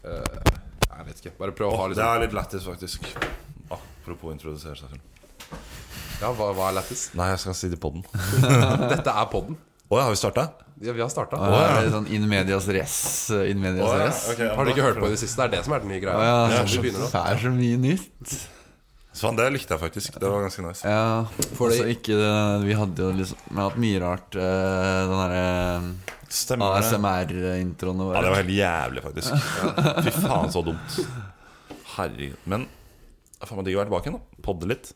eh, prøve å ha Det liksom er litt lættis, faktisk. Apropos introdusere seg selv. Ja, hva, hva er lættis? Nei, jeg skal si det i podden Å Dette er podden. ja, har vi starta? Ja, vi har starta. Å, ja. det er Sånn in medias res. eh, In medias res. Har du ikke hørt på i det siste? Det er det som er den nye greia. Å, ja, Det er sånn så, vi begynner nå. det er så mye nytt. Sånn, det likte jeg faktisk. Det var ganske nice. Ja, altså ikke det, Vi hadde jo liksom Vi har hatt mye rart. eh, den derre Stemmer det. Ja, ASMR-introene våre. det var helt jævlig, faktisk. Fy faen, så dumt. Herregud. Men det er faen meg digg å være tilbake igjen, da. Podde litt.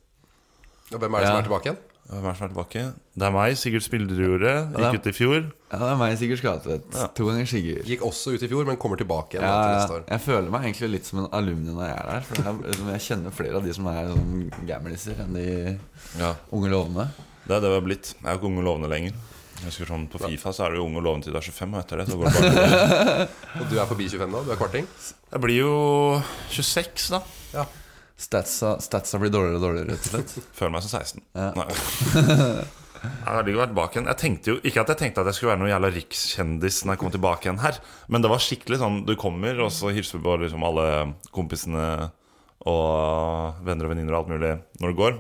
Og Hvem er det som Ja. er tilbake igjen? Hvem er det som er tilbake? Det er meg, Sigurd Spilderjordet. Ja. Gikk ut i fjor. Ja, det er meg, Sigurd Skatvedt. Ja. To ganger Sigurd. Gikk også ut i fjor, men kommer tilbake igjen Ja, til neste år. jeg føler meg egentlig litt som en alumni når jeg er der. For jeg, liksom, jeg kjenner flere av de som er sånn gamliser, enn de Ja. unge lovende. Det er det vi har blitt. Jeg er jo ikke ung og lovende lenger. Jeg husker sånn På Fifa så er du jo ung og lovende til du er 25, og etter det så går det bare Og du er forbi 25 nå? Du er kvarting? Jeg blir jo 26, da. Ja. Statsa, statsa blir dårligere og dårligere, rett og slett. Føler meg som 16. Ja. Nei. Jeg hadde ikke vært bak igjen. Jeg tenkte jo Ikke at jeg tenkte at jeg skulle være noen jævla rikskjendis når jeg kom tilbake igjen her, men det var skikkelig sånn Du kommer, og så hilser du på liksom alle kompisene og venner og venninner og alt mulig når du går.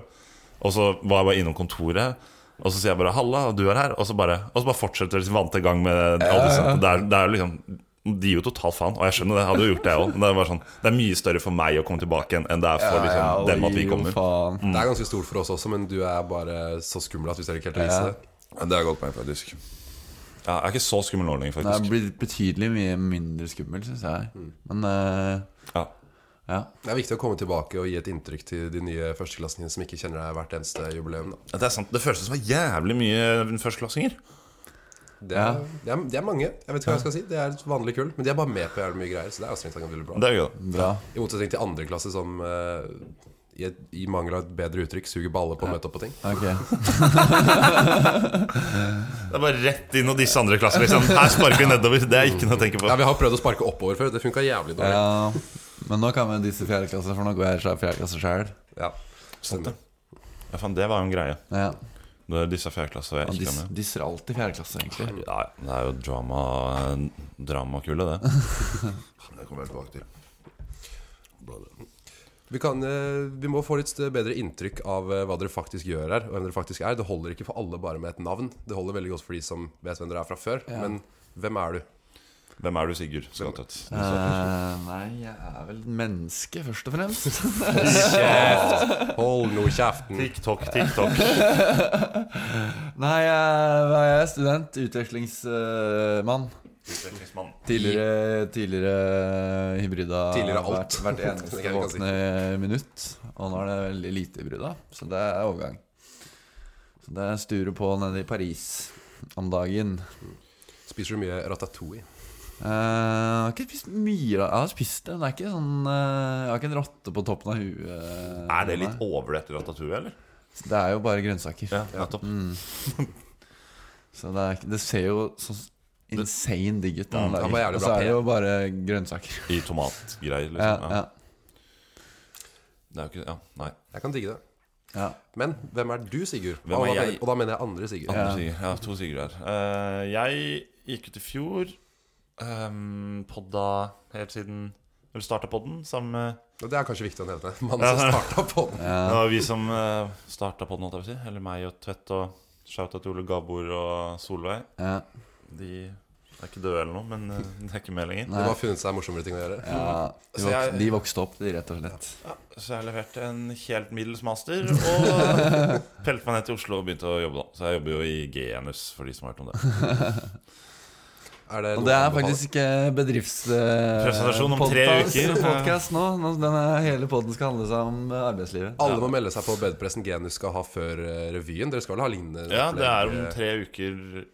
Og så var jeg bare innom kontoret, og så sier jeg bare 'halla, og du er her', og så bare, og så bare fortsetter liksom vante gang med alle disse. Det er, det er jo liksom de gir jo totalt faen, og jeg skjønner det. Jeg hadde jo gjort det, jeg også. Men Det, er bare sånn, det er mye større for meg å komme tilbake igjen enn det er for liksom, dem at vi oi, kommer. faen. Det er ganske stort for oss også, men du er bare så skummel at vi ser ikke helt å vise Ja. det. Det har gått meg, faktisk. Ja, jeg er ikke så skummel nå lenger, Det er faktisk. blitt betydelig mye mindre skummel, syns jeg. Men eh, Ja. ja. Det er viktig å komme tilbake og gi et inntrykk til de nye førsteklassingene som ikke kjenner deg hvert eneste jubileum. Da. Det er sant. Det føles som det var jævlig mye førsteklassinger. Det, er, det, er, det er mange. Jeg vet ikke hva jeg skal si. Det er et vanlig kull, men de er bare med på jævlig mye greier. Så det er jo strengt tatt veldig bra. Det er jo det. Bra. I motsetning til andre klasse som eh, i, et, i mangel av et bedre uttrykk suger balle på å møte opp på ting. Ok. Det er bare rett inn og disse andre klasser. Liksom. Her sparker vi nedover. Det er ikke noe å tenke på. Ja, Vi har prøvd å sparke oppover før. Det funka jævlig dårlig. Ja. Men nå kan vi disse fjerde klasse, for nå går jeg i fjerde klasse sjøl. Ja. Sant det. Ja, faen, det var jo en greie. Ja. Det er disse fjerdeklasser jeg Og ikke dis, er med. disser alltid fjerde klasse, egentlig. Ja, ja, det er jo drama dramakullet, det. Det kommer jeg tilbake til. Vi, kan, eh, vi må få litt bedre inntrykk av eh, hva dere faktisk gjør her. Og hvem dere faktisk er Det holder ikke for alle bare med et navn. Det holder veldig godt for de som vet hvem dere er fra før. Ja. Men hvem er du? Hvem er du, Sigurd Skatvedt? Eh, nei, jeg er vel et menneske, først og fremst. Hold nå kjeften! TikTok, TikTok. nei, jeg, hva er jeg student. Utvekslingsmann. Utviklingsmann. Tidligere, tidligere hybrida Tidligere alt. hvert, hvert Det eneste kan jeg si. våkne minutt. Og nå er det veldig lite hybrida, så det er overgang. Så det sturer på nede i Paris om dagen. Spiser du mye ratatouille? Eh, jeg har ikke spist mye da. Jeg har spist det, men det er ikke sånn eh, Jeg har ikke en rotte på toppen av huet. eh, Er det litt overdrevet ratatouille, eller? Det er jo bare grønnsaker. Ja, Mm. nettopp. Så det, er, ikke- det ser jo så insane digg ut. da, Mm, det er om bare dagen. jævlig bra Og så er pen. det jo bare grønnsaker. I tomatgreier, Ja, liksom. Ja, ja, Det er jo ikke Ja, nei. Jeg kan digge det. ja. Men hvem er du, Sigurd? Hvem er og, da jeg? men- og da mener jeg andre Sigurd. Andre Sigurd. Ja, to Sigurd her. Eh, jeg gikk ut i fjor. Um, podda helt siden Eller starta podden sammen med Og det er kanskje viktig å nevne. Mannen som starta på den. Det var vi som uh, starta podden, holdt jeg på å si. Eller meg og Tvedt og shouta til Ole Gabor og Solveig. ja. De er ikke døde eller noe, men eh, de er ikke med lenger. De har funnet seg morsommere ting å gjøre. Ja, de, Så jeg- vok de vokste opp, de, rett og slett. Ja, så jeg leverte en helt middels master og pelte meg ned til Oslo og begynte å jobbe da. Så jeg jobber jo i Genus, for de som har hørt om det. Er det Og noe det å er anbefale? faktisk ikke eh, bedriftspresentasjon Presentasjon om tre uker. Podcast nå. Nå- Denne hele podden skal handle seg eh, om arbeidslivet. Alle må melde seg på Bedpressen Genus skal ha før eh, revyen. Dere skal vel ha lignende Ja, det er om opplegg, eh, tre uker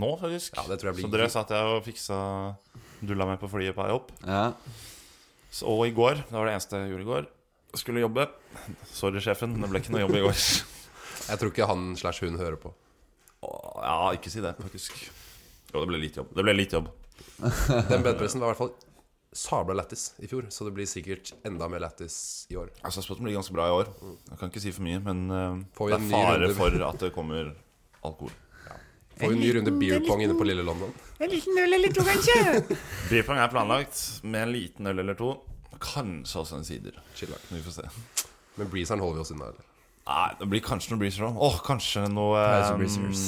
nå, faktisk. Ja, det tror jeg blir- Så dere satt jeg og fiksa dulla meg på flyet på vei opp. Ja. Så, og i går, det var det eneste jeg gjorde i går, skulle jobbe. Sorry, sjefen, det ble ikke noe jobb i går. Jeg tror ikke han slash hun hører på. Åh, Ja, ikke si det, faktisk. Jo, det ble litt jobb. Det ble litt jobb. Den bedpressen var i hvert fall sabla lættis i fjor, så det blir sikkert enda mer lættis i år. Altså, Spørsmålet blir ganske bra i år. Jeg kan ikke si for mye, men eh, Får vi det en er ny fare runde? for at det kommer alkohol. Får en ny runde beer pong inne på lille London. En liten øl eller to, kanskje? Beerpong er planlagt med en liten øl eller to. Kanskje også en sider. Chill lag. Vi får se. Men breezeren holder vi oss unna. eller? Nei, det blir kanskje noe breezer òg. Åh, kanskje noe Kaiser eh, Breezers.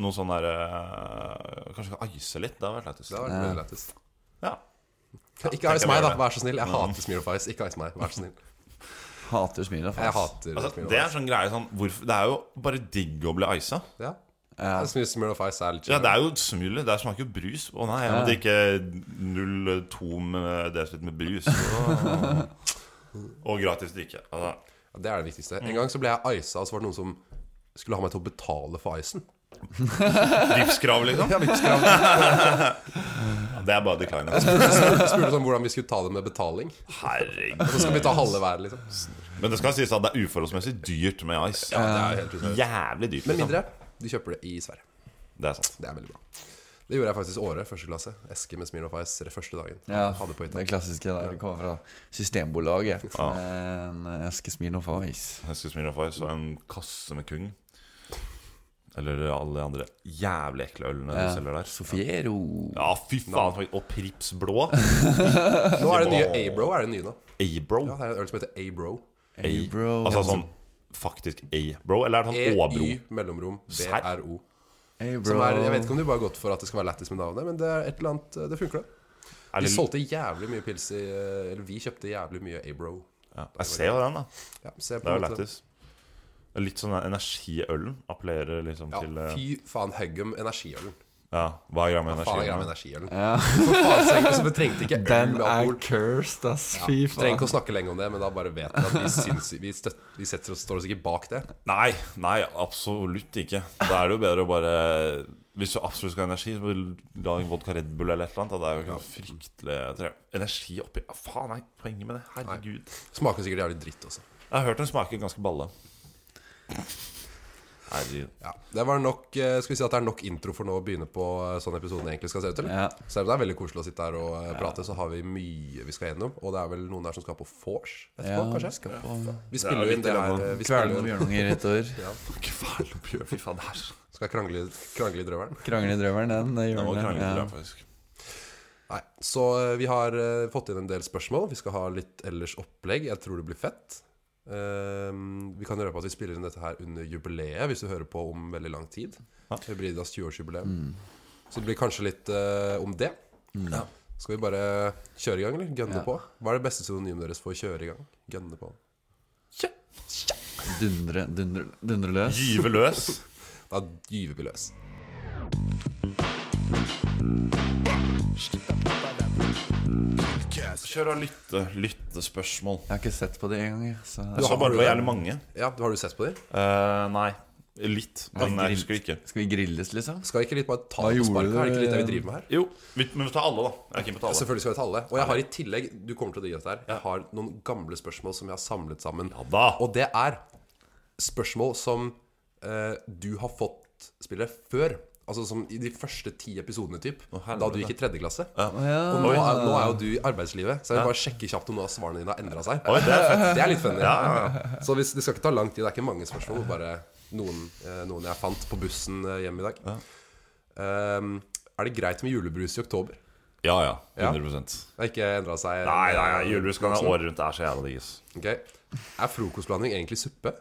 Noe sånn der eh, Kanskje ice litt. Det hadde vært Det har lettest. vært Ja. veldig lettest. Ja. Ikke ice tenker meg, vi da. gjør det. Vær så snill. Jeg hater Smear of Ice. Ikke ice meg. Vær så snill. Hater Smirnoff. Jeg ass. hater Altså, Smear of det Ice. er sånn greie sånn hvorfor, Det er jo bare digg å bli isa. Ja. Ja. Jeg synes Smear of Ice er litt Ja, chill. det er jo smullet. Det smaker jo brus. Å nei, jeg må drikke 0,2 med- dl med brus. Åh. Og gratis drikke. Altså, Ja, det er det viktigste. Mm. En gang så ble jeg isa, og så var det noen som skulle ha meg til å betale for isen. Livskrav, liksom. Ja, livskrav. Ja, Det er bare decline. Spurte om hvordan vi skulle ta det med betaling. Herregud. Så skal vi ta halve hver, liksom. Men det skal sies at det er uforholdsmessig dyrt med ice. Ja, det er jo helt utrolig. Jævlig dyrt. Med Liksom. Mm. mindre de kjøper det i Sverige. Det er sant. Det er veldig bra. Det gjorde jeg faktisk året, første klasse. Eske med Smear of Ice det første dagen. Ja, Hadde på hytta. det klassiske der. Det kommer fra Systembolaget. En eske Smirnoff og is. Jeg skulle smile for så en kasse med Kung. Eller alle de andre jævlig ekle ølene de selger der. Sofiero. Ja, fy faen. faktisk. Og Prips blå. Nå er det nye Abro. Er det nye nå? A-bro. Ja, det er en øl som heter Abro. Hey, bro. Altså sånn faktisk A, bro? Eller er det sånn Å-bro? EY mellomrom Serr? BRO. Hey, bro. Som er, jeg vet ikke om du bare har gått for at det skal være lættis med navnet, men det er et eller annet, det funker, det. Er Vi det- solgte jævlig mye pils i eh, Eller vi kjøpte jævlig mye Abro. Ja. Jeg ser jo den, da. Ja, se på Det er jo en måte. lættis. Det er Litt sånn der energiølen appellerer liksom Ja, til eh, fy faen, Huggum energiølen. Ja, hva er greia med Faen, jeg er med energiølen? energiølen. For faen, så egentlig, så vi trengte ikke øl Den med er alkohol. cursed, ass. Ja, Fy vi trenger faen. ikke å snakke lenge om det, men da bare vet vi at vi, syns, vi, støt, vi setter oss, står oss ikke bak det. Nei, nei, absolutt ikke. Da er det jo bedre å bare Hvis du absolutt skal ha energi, så vil du ha en vodka Red Bull eller et eller annet. Da. Det er jo ikke fryktelig tre. Energi oppi ah, Faen, nei, poenget med det. Herregud. Smaker sikkert jævlig dritt også. Jeg har hørt den smaker ganske balle. Herregud. Ja, det var nok, eh, Skal vi si at det er nok intro for nå å begynne på eh, sånn episoden egentlig skal se ut? eller? Ja. Selv om det er veldig koselig å sitte her og eh, prate, så har vi mye vi skal gjennom. Og det er vel noen her som skal på vors etterpå, Ja, kanskje? skal på Vi spiller jo inn det her eh, vi Kvelden spiller, om jo- bjørnunger et år. Kveld og bjørn, fy faen. Det her Skal krangle, krangle i drøvelen. Krangle i drømmeren, den. Det Det gjør var den. kranglete, Ja. det, faktisk. Nei, Så eh, vi har eh, fått inn en del spørsmål. Vi skal ha litt ellers opplegg. Jeg tror det blir fett. Ehm, vi kan røpe at vi spiller inn dette her under jubileet, hvis du hører på om veldig lang tid. Ja. Hybridas 20-årsjubileum. Så det blir kanskje litt eh, om det. Ja. Skal vi bare kjøre i gang, eller? Gønne Ja. på? Hva er det beste synonymet deres for å kjøre i gang? Gønne på. Dundre, dundre, dundre løs. Gyve løs. Da gyver vi løs. Kjør og lytte. Lyttespørsmål. Jeg har ikke sett på det engang. jeg, Så Jeg har så bare du det var det? jævlig mange. Ja, Har du sett på dem? Eh, nei. Litt, men Ja, jeg grill. husker det ikke. skal vi grilles, liksom? Skal ikke litt bare ta Hva det på gjorde sparket? Er det ikke litt det vi du- driver med her? Jo, vi, men vi tar alle, da. Jeg er keen på å ta alle. Selvfølgelig skal vi ta alle. Og jeg har i tillegg Du kommer til å digge dette her. Jeg har noen gamle spørsmål som jeg har samlet sammen. Ja da. Og det er spørsmål som eh, du har fått spille før. Altså som i de første ti episodene, typ. helvete. Da du gikk i tredje klasse. Ja. Og nå er, nå er jo du i arbeidslivet, så jeg vil bare sjekke kjapt om noen av svarene dine har endra seg. Oi, det er fett. Det er litt funny. Ja, ja, ja. Så hvis, det skal ikke ta lang tid. Det er ikke mange spørsmål. Bare noen, eh, noen jeg fant på bussen eh, hjem i dag. Ehm, er det greit med julebrus i oktober? ja, ja. Ja. 100 Det har ikke endra seg? eh, Nei, nei, nei julebrus kan jeg året rundt. Det er så jævla digg. ass. Ok. Er frokostblanding egentlig suppe?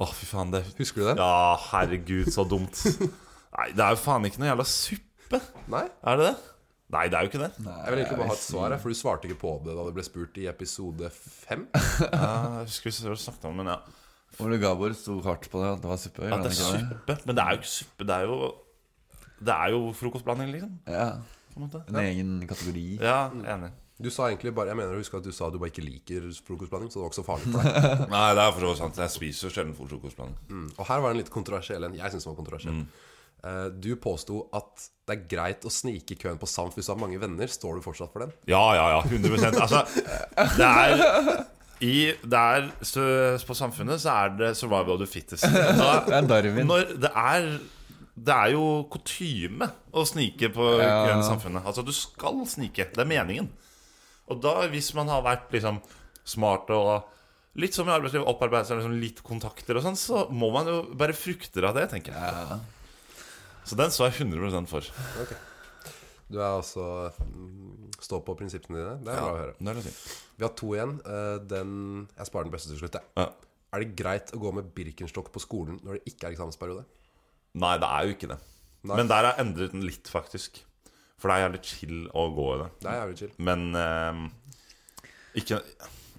Å, fy faen, det Husker du den? Ja, herregud, så dumt. Nei, det er jo faen ikke noe jævla suppe. Nei? Er det det? Nei, det er jo ikke det. Jeg vil egentlig bare ha Eh, et svar, jeg, for du svarte ikke på det da du ble spurt i episode fem. Ja, Jeg husker vi snakket om det, men ja. Ole Gabor sto hardt på det, at det var suppe. At gjorde han det er ikke det? suppe. Men det er jo ikke suppe. Det er jo, det er jo frokostblanding, liksom. Ja, På en måte. En egen kategori. Ja, enig. Du sa egentlig bare Jeg mener å huske at du sa du bare ikke liker frokostblanding, så det var ikke så farlig for deg. Nei, det er for så vidt sant. Jeg spiser jo sjelden frokostblanding. Mm. Og her var den litt kontroversiell en. Jeg syns den var Mm. kontroversiell. Eh, Du påsto at det er greit å snike i køen på Samf hvis du har mange venner. Står du fortsatt for den? Ja, ja, ja. 100 Altså, det er i, det er, så, På Samfunnet så er det 'survival of the fittest'. Det Da, er Darwin. når det er det er jo kutyme å snike på Ja. grønn samfunnet. Altså, du skal snike. Det er meningen. Og da, hvis man har vært liksom smart og litt som i arbeidslivet, opparbeidet seg liksom litt kontakter og sånn, så må man jo bare frukter av det, tenker jeg. Så den står jeg 100 for. Du er også mm, Stå på prinsippene dine. Det er bra å høre. Det er litt fint. Vi har to igjen. Eh, Den Jeg sparer den beste til slutt, jeg. Ja. Er det greit å gå med Birkenstock på skolen når det ikke er eksamensperiode? Nei, det er jo ikke det. Nei. Men der har jeg endret den litt, faktisk. For det er jævlig chill å gå i det. Det er jævlig chill. Men eh, ikke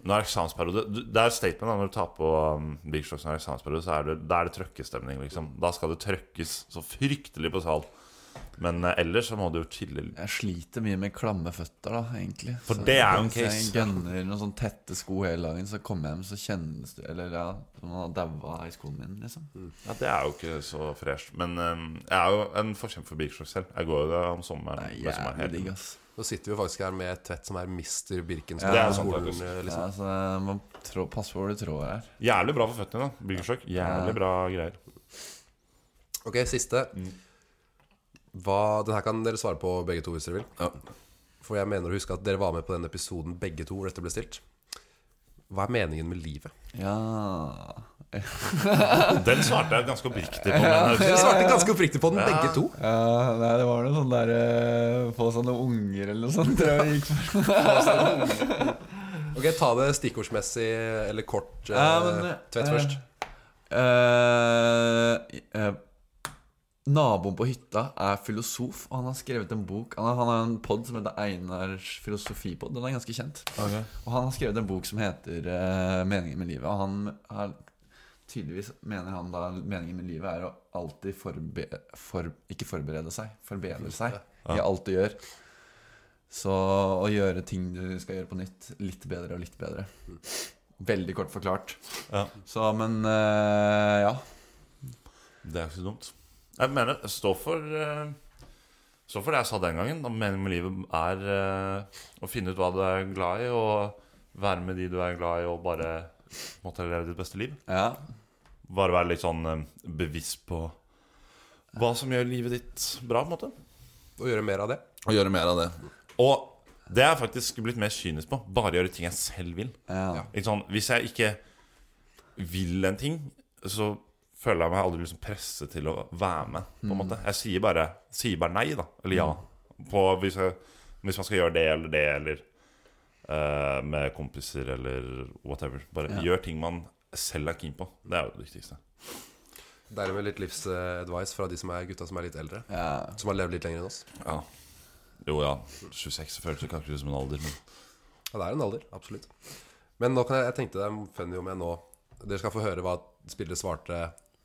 Når det er eksamensperiode du- Det er et statement da når du tar på um, Big Shocks når det er eksamensperiode, så er det, da er det trøkkestemning, liksom. Da skal det trøkkes så fryktelig på sal. Men eh, ellers så må du jo chille litt. Jeg sliter mye med klamme føtter, da, egentlig. For det er jo en hvis Jeg case. gønner noen sånn tette sko hele dagen, så kommer jeg hjem, så kjennes det Eller ja, som om han har daua i skoen min, liksom. Ja, det er jo ikke så fresh. Men eh, jeg er jo en forkjemper for Big Shocks selv. Jeg går jo der om sommeren. med Det er jævlig sommerhelten. digg, ass. Nå sitter vi jo faktisk her med et tett som er Mr. Birkenstock. Det er på sant, skolen, faktisk. eh, Ja, liksom. så jeg må trå, passe på hvor du trår her. Jævlig bra for føttene, da. Big Shock. Jævlig bra greier. liksom. Ok, siste. Hva, den her kan dere svare på begge to hvis dere vil. For jeg mener å huske at dere var med på den episoden begge to hvor dette ble stilt. Hva er meningen med livet? Ja Den svarte jeg ganske oppriktig på. Men Dere svarte ganske oppriktig på den, begge to. ja, Nei, det var noe sånn der eh, Få seg noen unger eller noe sånt. Tror jeg vi gikk for. Ok, Ta det stikkordsmessig eller kort. Eh, Ja, men, eh, tvett eh, først. Eh, eh, naboen på hytta er filosof, og han har skrevet en bok. Han har, han har en pod som heter Einars filosofipod. Den er ganske kjent. Ok. Og han har skrevet en bok som heter eh, 'Meningen med livet'. Og han er, tydeligvis mener han da meningen med livet er å alltid forbe... For, ikke forberede seg, forbedre seg i alt du gjør. Så å gjøre ting du skal gjøre på nytt, litt bedre og litt bedre. Veldig kort forklart. Ja. Så, men eh, ja. Det er ikke så dumt. Jeg mener, stå for eh, Stå for det jeg sa den gangen. Om meningen med livet er eh, å finne ut hva du er glad i, og være med de du er glad i, og bare måtte leve ditt beste liv. ja. Bare være litt sånn eh, bevisst på hva som gjør livet ditt bra, på en måte. Og gjøre mer av det. Og gjøre mer av det. Og det er jeg faktisk blitt mer kynisk på. Bare gjøre ting jeg selv vil. ja. Ikke sånn, hvis jeg ikke vil en ting, så føler jeg meg aldri liksom presset til å være med. På en måte. Jeg sier bare, sier bare nei, da. Eller ja. På, hvis, jeg, hvis man skal gjøre det eller det, eller eh, med kompiser eller whatever. Bare gjør ting man selv er keen på. Det er jo det viktigste. Dermed litt livsadvice fra de som er gutta som er litt eldre. Ja. Som har levd litt lenger enn oss. Ja. Jo ja, 26 føles jo kanskje som en alder, men Ja, det er en alder, absolutt. Men nå kan jeg, jeg tenkte det er funny om jeg nå Dere skal få høre hva spillere svarte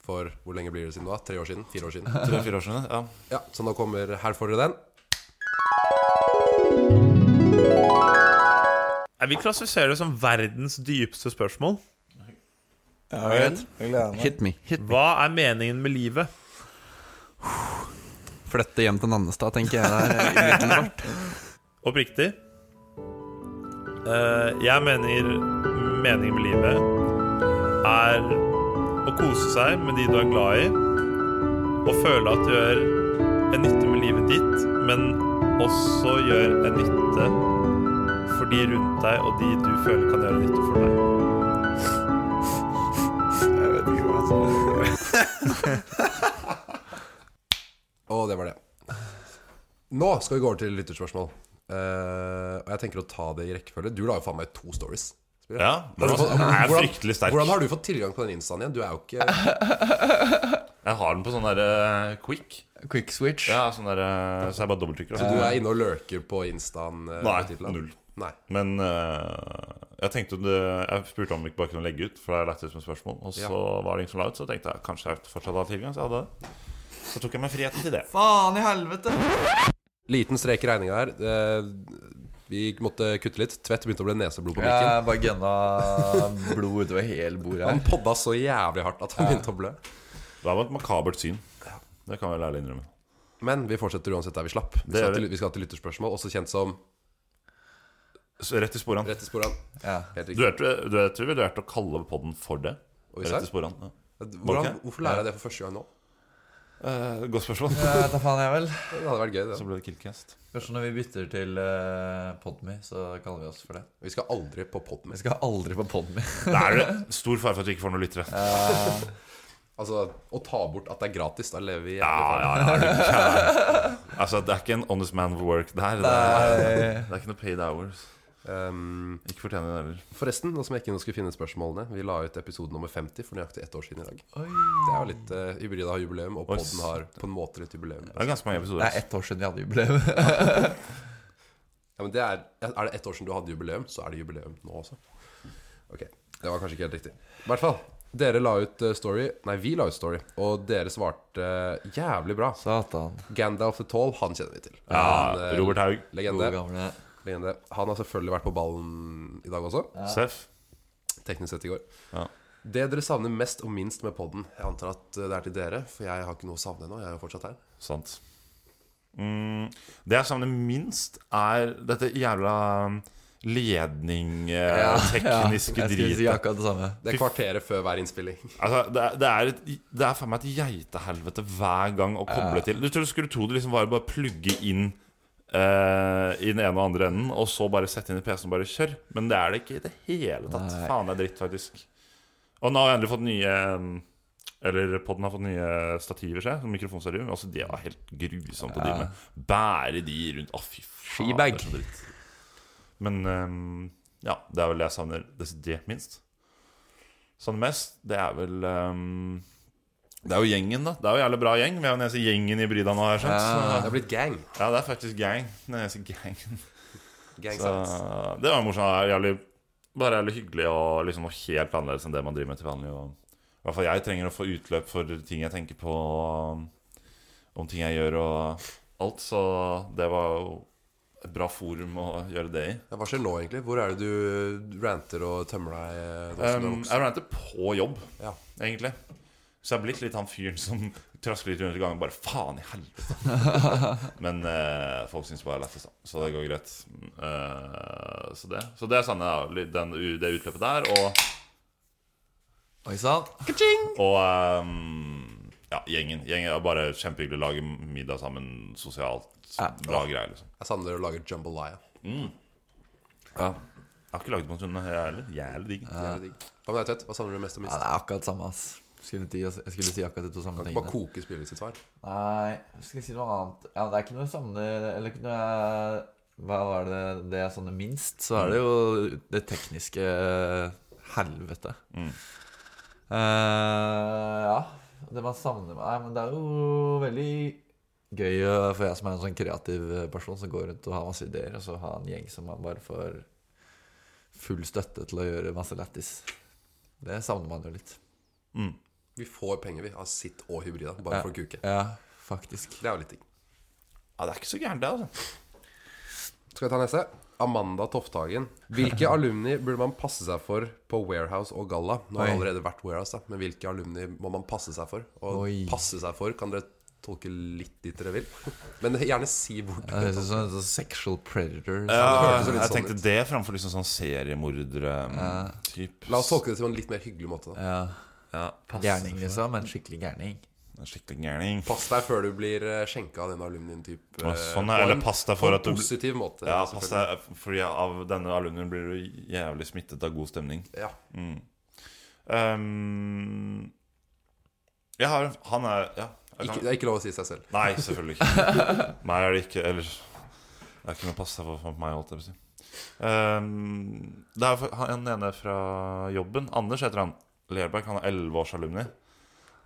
for hvor lenge blir det siden nå? da? Tre år siden? Fire år siden? tre-fire år siden. Ja. Ja, Så nå kommer Her får dere den. Jeg vil klassifisere det som verdens dypeste spørsmål. Hit me. Hit. Hva er meningen med livet? Flytte hjem til Nannestad, tenker jeg der. eh, umiddelbart. Oppriktig. Eh, jeg mener meningen med livet er å kose seg med de du er glad i, og føle at du gjør en nytte med livet ditt, men også gjør en nytte for de rundt deg og de du føler kan gjøre nytte for deg. Og det var det. Nå skal vi gå over til lytterspørsmål. Eh, og jeg tenker å ta det i rekkefølge. Du la jo faen meg ut to stories. spiller jeg. ja. Men altså, jeg er fryktelig sterk. Hvordan har du fått tilgang på den instaen igjen? Du er jo ikke Jeg har den på sånn der eh, quick. Quick switch. Ja, sånn der, eh, så jeg bare dobbelttrykker. Du Altså. er inne og lurker på instaen? eh, Nei, på titlen. null. Nei. Men eh, jeg tenkte om det, Jeg spurte om vi ikke bare kunne legge ut, for det er lett ut som et spørsmål. Og så Ja. var det ingen som la ut, så tenkte jeg kanskje jeg fortsatt hadde tilgang. Så jeg hadde det. Så tok jeg meg friheten til det. Faen i helvete! Liten strek i regninga her. Eh, vi måtte kutte litt. Tvedt begynte å bli neseblod på mikken. Jeg bare gønna blod utover hele bordet Han her. podda så jævlig hardt at han begynte å blø. Det var et makabert syn. Det kan jeg vel ærlig innrømme. Men vi fortsetter uansett der vi slapp. Vi Det skal, gjør til, vi. vi skal til lytterspørsmål, også kjent som Så rett i sporene. Rett i sporene. Ja. Helt Du riktig. vet, du vet, du vurderte å kalle podden for det? Oi, Rett sant? i sporene. Ja. Hvordan, Ok. hvorfor lærer jeg det for første gang nå? Eh, godt spørsmål. Jeg vet da faen, jeg vel. Det hadde vært gøy. Så det ble det Killcast. Først når vi bytter til eh, Podme, så kaller vi oss for det. Vi skal aldri på podden. Vi skal aldri på Podme. Det er det stor fare for at vi ikke får noen lyttere. Altså, å ta bort at det er gratis, da lever vi Ja, jævlig ja, ja, er du gæren? Altså, det er ikke en honest man of work der. Det er, Nei. det er ikke noe paid hours. Ehm, Ikke fortjener det heller. forresten, nå som jeg ikke nå skulle finne spørsmålene Vi la ut episode nummer 50 for nøyaktig ett år siden i dag. Oi. Det er jo litt uh, Hybrida har jubileum, og Oi, podden har på en måte litt jubileum. Det er ganske mange Det episoder. altså. er ett år siden vi hadde jubileum. Ja, men det er, er det ett år siden du hadde jubileum, så er det jubileum nå også. Ok, Det var kanskje ikke helt riktig. I hvert fall. Dere la ut eh, story Nei, vi la ut story, og dere svarte eh, jævlig bra. Satan. Gandalf the Tall, han kjenner vi til. Ja, Han, eh, Robert Haug. Legende. Gode gamle legende. Han har selvfølgelig vært på ballen i dag også. Seff. Teknisk sett i går. Ja. Det dere savner mest og minst med podden Jeg antar at eh, det er til dere, for jeg har ikke noe å savne ennå. Jeg er jo fortsatt her. Sant. Mm, det jeg savner minst, er dette jævla um, uh, Ja, ledning-tekniske ja, jeg skulle dritet. si akkurat det samme. Det er kvarteret før hver innspilling. Altså, det, er- det, er et, det er faen meg et geitehelvete hver gang å koble til. Du tror du skulle tro det liksom var å bare plugge inn eh, i den ene og andre enden, og så bare sette inn i PC-en og bare kjør. Men det er det ikke i det hele tatt. Nei. Faen, det er dritt, faktisk. Og nå har jeg endelig fått nye Eller podden har fått nye stativer, se. sånn Mikrofonstativ. Altså, det var helt grusomt å drive med. Bære de rundt Å, fy faen. det er Skibag. så dritt. Men eh, ja, det er vel det jeg savner desidert minst. Sånn mest, det er vel ehm, Det er jo gjengen, da. Det er jo jævlig bra gjeng. Vi er jo den eneste gjengen i Brida nå, har jeg skjønt. Det Så, har blitt gang. ja, det er faktisk gang. Den eneste gangen. gang Så, sounds. det var morsomt. Det er Jævlig, bare jævlig hyggelig og liksom noe helt annerledes enn det man driver med til vanlig. Og, I hvert fall jeg trenger å få utløp for ting jeg tenker på, og om ting jeg gjør og alt. Så det var jo et bra forum å gjøre det i. Ja, Hva skjer nå, egentlig? Hvor er det du ranter og tømmer deg? eh, nå som du er Um, voksen? jeg ranter på jobb, Ja. egentlig. Så jeg har blitt litt han fyren som trasker litt rundt i gangen og bare faen i helvete. Men eh, folk syns bare det er lættis, da. så det går greit. Mm, eh, så det Så det savner jeg, da. Litt den, u- det utløpet der. Og, Oi sann. og ehm, ja, gjengen. Gjengen er bare kjempehyggelig. Lage middag sammen sosialt. Ja. Bra greier, liksom. Jeg savner å lage jambalaya. Ja. Jeg har ikke lagd på en stund, men jeg er litt jævlig digg. Det er digg. Hva med deg, Tøtt? Hva savner du mest og Ja, minst? det er akkurat det samme, ass. Skulle si, jeg skulle si akkurat de to samme Bare tingene. koke spillet sitt svar. Nei, skal jeg si noe annet? Ja, det er ikke noe jeg savner Eller ikke noe jeg Hva var det det jeg savner minst? Så er det jo det tekniske helvete. Eh, ja. Det man savner Nei, men det er jo veldig gøy eh, for jeg som er en sånn kreativ person som går rundt og har masse ideer, og så ha en gjeng som man bare får full støtte til å gjøre masse lættis. Det savner man jo litt. Vi får penger, vi, av sitt og hybrida, bare for å kuke. Ja, faktisk. Det er jo litt digg. Ja, det er ikke så gærent, det, altså. Skal vi ta neste? Amanda Tofthagen. Hvilke alumni burde man passe seg for på Warehouse og Galla? Nå har Oi. jeg allerede vært Warehouse, da, men hvilke alumni må man passe seg for? Og Oi. passe seg for kan dere tolke litt dit dere vil. Men gjerne si hvor Det høres ut som en sånn sexual predator. Ja, hørtes jo litt jeg sånn tenkte ut. det framfor liksom sånn mm, seriemordere-typ. La oss tolke det til en litt mer hyggelig måte. Da. Ja. Ja, Gærning, liksom. En skikkelig gærning. en skikkelig gærning. Pass deg før du blir eh, skjenka av denne alumnien. Typ, Å, eh, sånn, på eller en- pass deg for på en at du- Positiv måte. Ja, selvfølgelig. pass deg, fordi av denne alumnien blir du jævlig smittet av god stemning. Mm. Ja. Ehm, jeg har Han er Ja. Jeg Ikke, kan, det er ikke lov å si seg selv. nei, selvfølgelig ikke. Meg er det ikke. Eller Det er ikke noe å passe seg for, for meg, holdt jeg på å si. Ehm, det er for- han ene fra jobben. Anders heter han. Lerberg. Han er elleveårsalumni.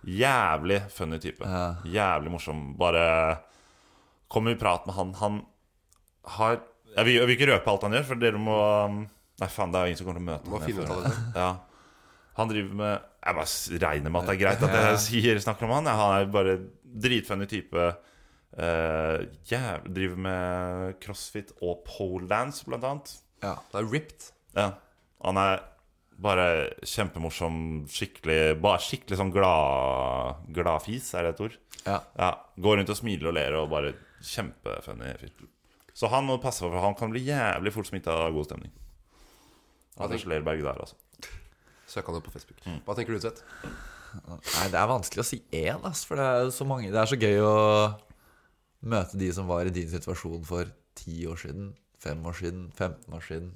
Jævlig funny type. Ja. Jævlig morsom. Bare kom i prat med han. Han har Jeg vil, jeg vil ikke røpe alt han gjør, for dere må um, Nei, faen, det er jo ingen som kommer til å møte Må ham. finne ut av Ja. Han driver med Jeg bare s- regner med at det er greit at jeg sier, snakker om han. Ja, han er bare dritfunny type. Eh, jæv- driver med crossfit og poledance, blant annet. Ja. Det er ripped. Ja. Han er bare kjempemorsom, skikkelig Bare skikkelig sånn glad gladfis, er det et ord? Ja. Ja, Går rundt og smiler og ler og bare kjempefunny fyr. Så han må passe på, for han kan bli jævlig fort smitta av god stemning. Anders Lerberg der, altså. Søk han opp på Facebook. Mm. Hva tenker du, Tvedt? Nei, det er vanskelig å si én, ass, for det er så mange Det er så gøy å møte de som var i din situasjon for ti år siden, fem år siden, 15 år siden.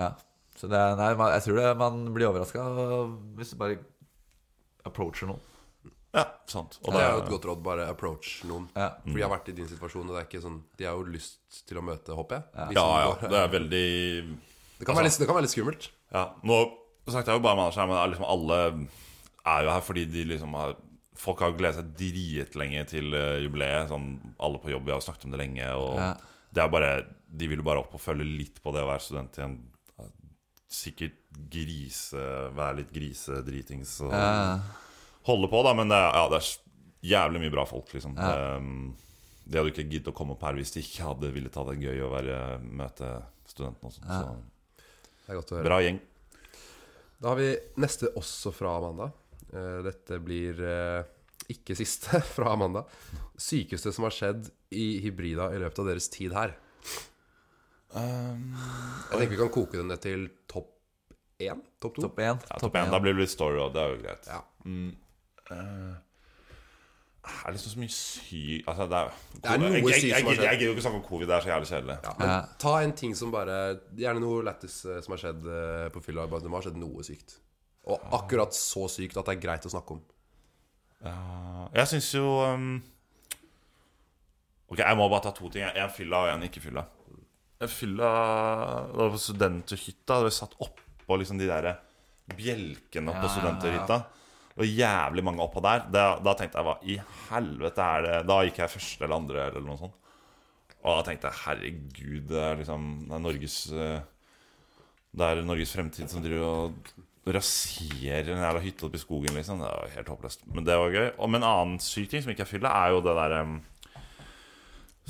Ja. Så det er Nei, man, jeg tror det man blir overraska hvis du bare approacher noen. Ja, sant. Og Det da, er jo et godt råd. Bare approach noen. Ja. For de har vært i din situasjon, og det er ikke sånn De har jo lyst til å møte, håper jeg. De ja, som ja. går- Det er veldig Det, kan være litt, det kan være litt skummelt. Ja, nå snakket jeg jo bare med Anders her, men det er liksom alle er jo her fordi de liksom har Folk har gledet seg dritlenge til eh, jubileet. Sånn, alle på jobb, vi har jo snakket om det lenge. Og Ja. det er bare De vil jo bare opp og følge litt på det å være student i en eh, Sikkert grise Være litt grisedritings og Ja. holde på, da. Men det er, ja, det er jævlig mye bra folk, liksom. Ja. Ehm, de hadde jo ikke giddet å komme opp her hvis de ikke hadde villet ha det gøy å være, møte studentene og sånn. Det er godt å Så høre. bra gjeng. Da har vi neste også fra Amanda. Eh, Dette blir eh, ikke siste fra Amanda. Sykeste som har skjedd i Hybrida i løpet av deres tid her. Jeg tenker vi kan koke den ned til topp én? Topp to? Topp én. Ja, topp én. Da blir det litt story, og det er jo greit. Ja. Det er liksom så mye sy... Altså, det er, er noe jeg, jeg, sy jeg, som har jeg, skjedd. jeg gidder jo ikke snakke om covid, det er så jævlig kjedelig. Ja, men Ja. ta en ting som bare Gjerne noe lættis eh, som har skjedd eh, på fylla. Bare det må ha skjedd noe sykt. Og akkurat så sykt at det er greit å snakke om. Jeg syns jo um, Ok, jeg må bare ta to ting. En fylla og en ikke-fylla. Jeg fylla Det var på studenthytta. Da vi satt oppå liksom de der bjelkene på studenthytta. Det var jævlig mange oppå der. Da, da tenkte jeg hva i helvete er det Da gikk jeg første eller andre eller noe sånt. Og da tenkte jeg herregud, det er liksom Det er Norges eh, Det er Norges fremtid som driver og raserer en jævla hytte oppe i skogen, liksom. Det var helt håpløst. Men det var gøy. Og men en annen syk ting som ikke er fylla, er jo det derre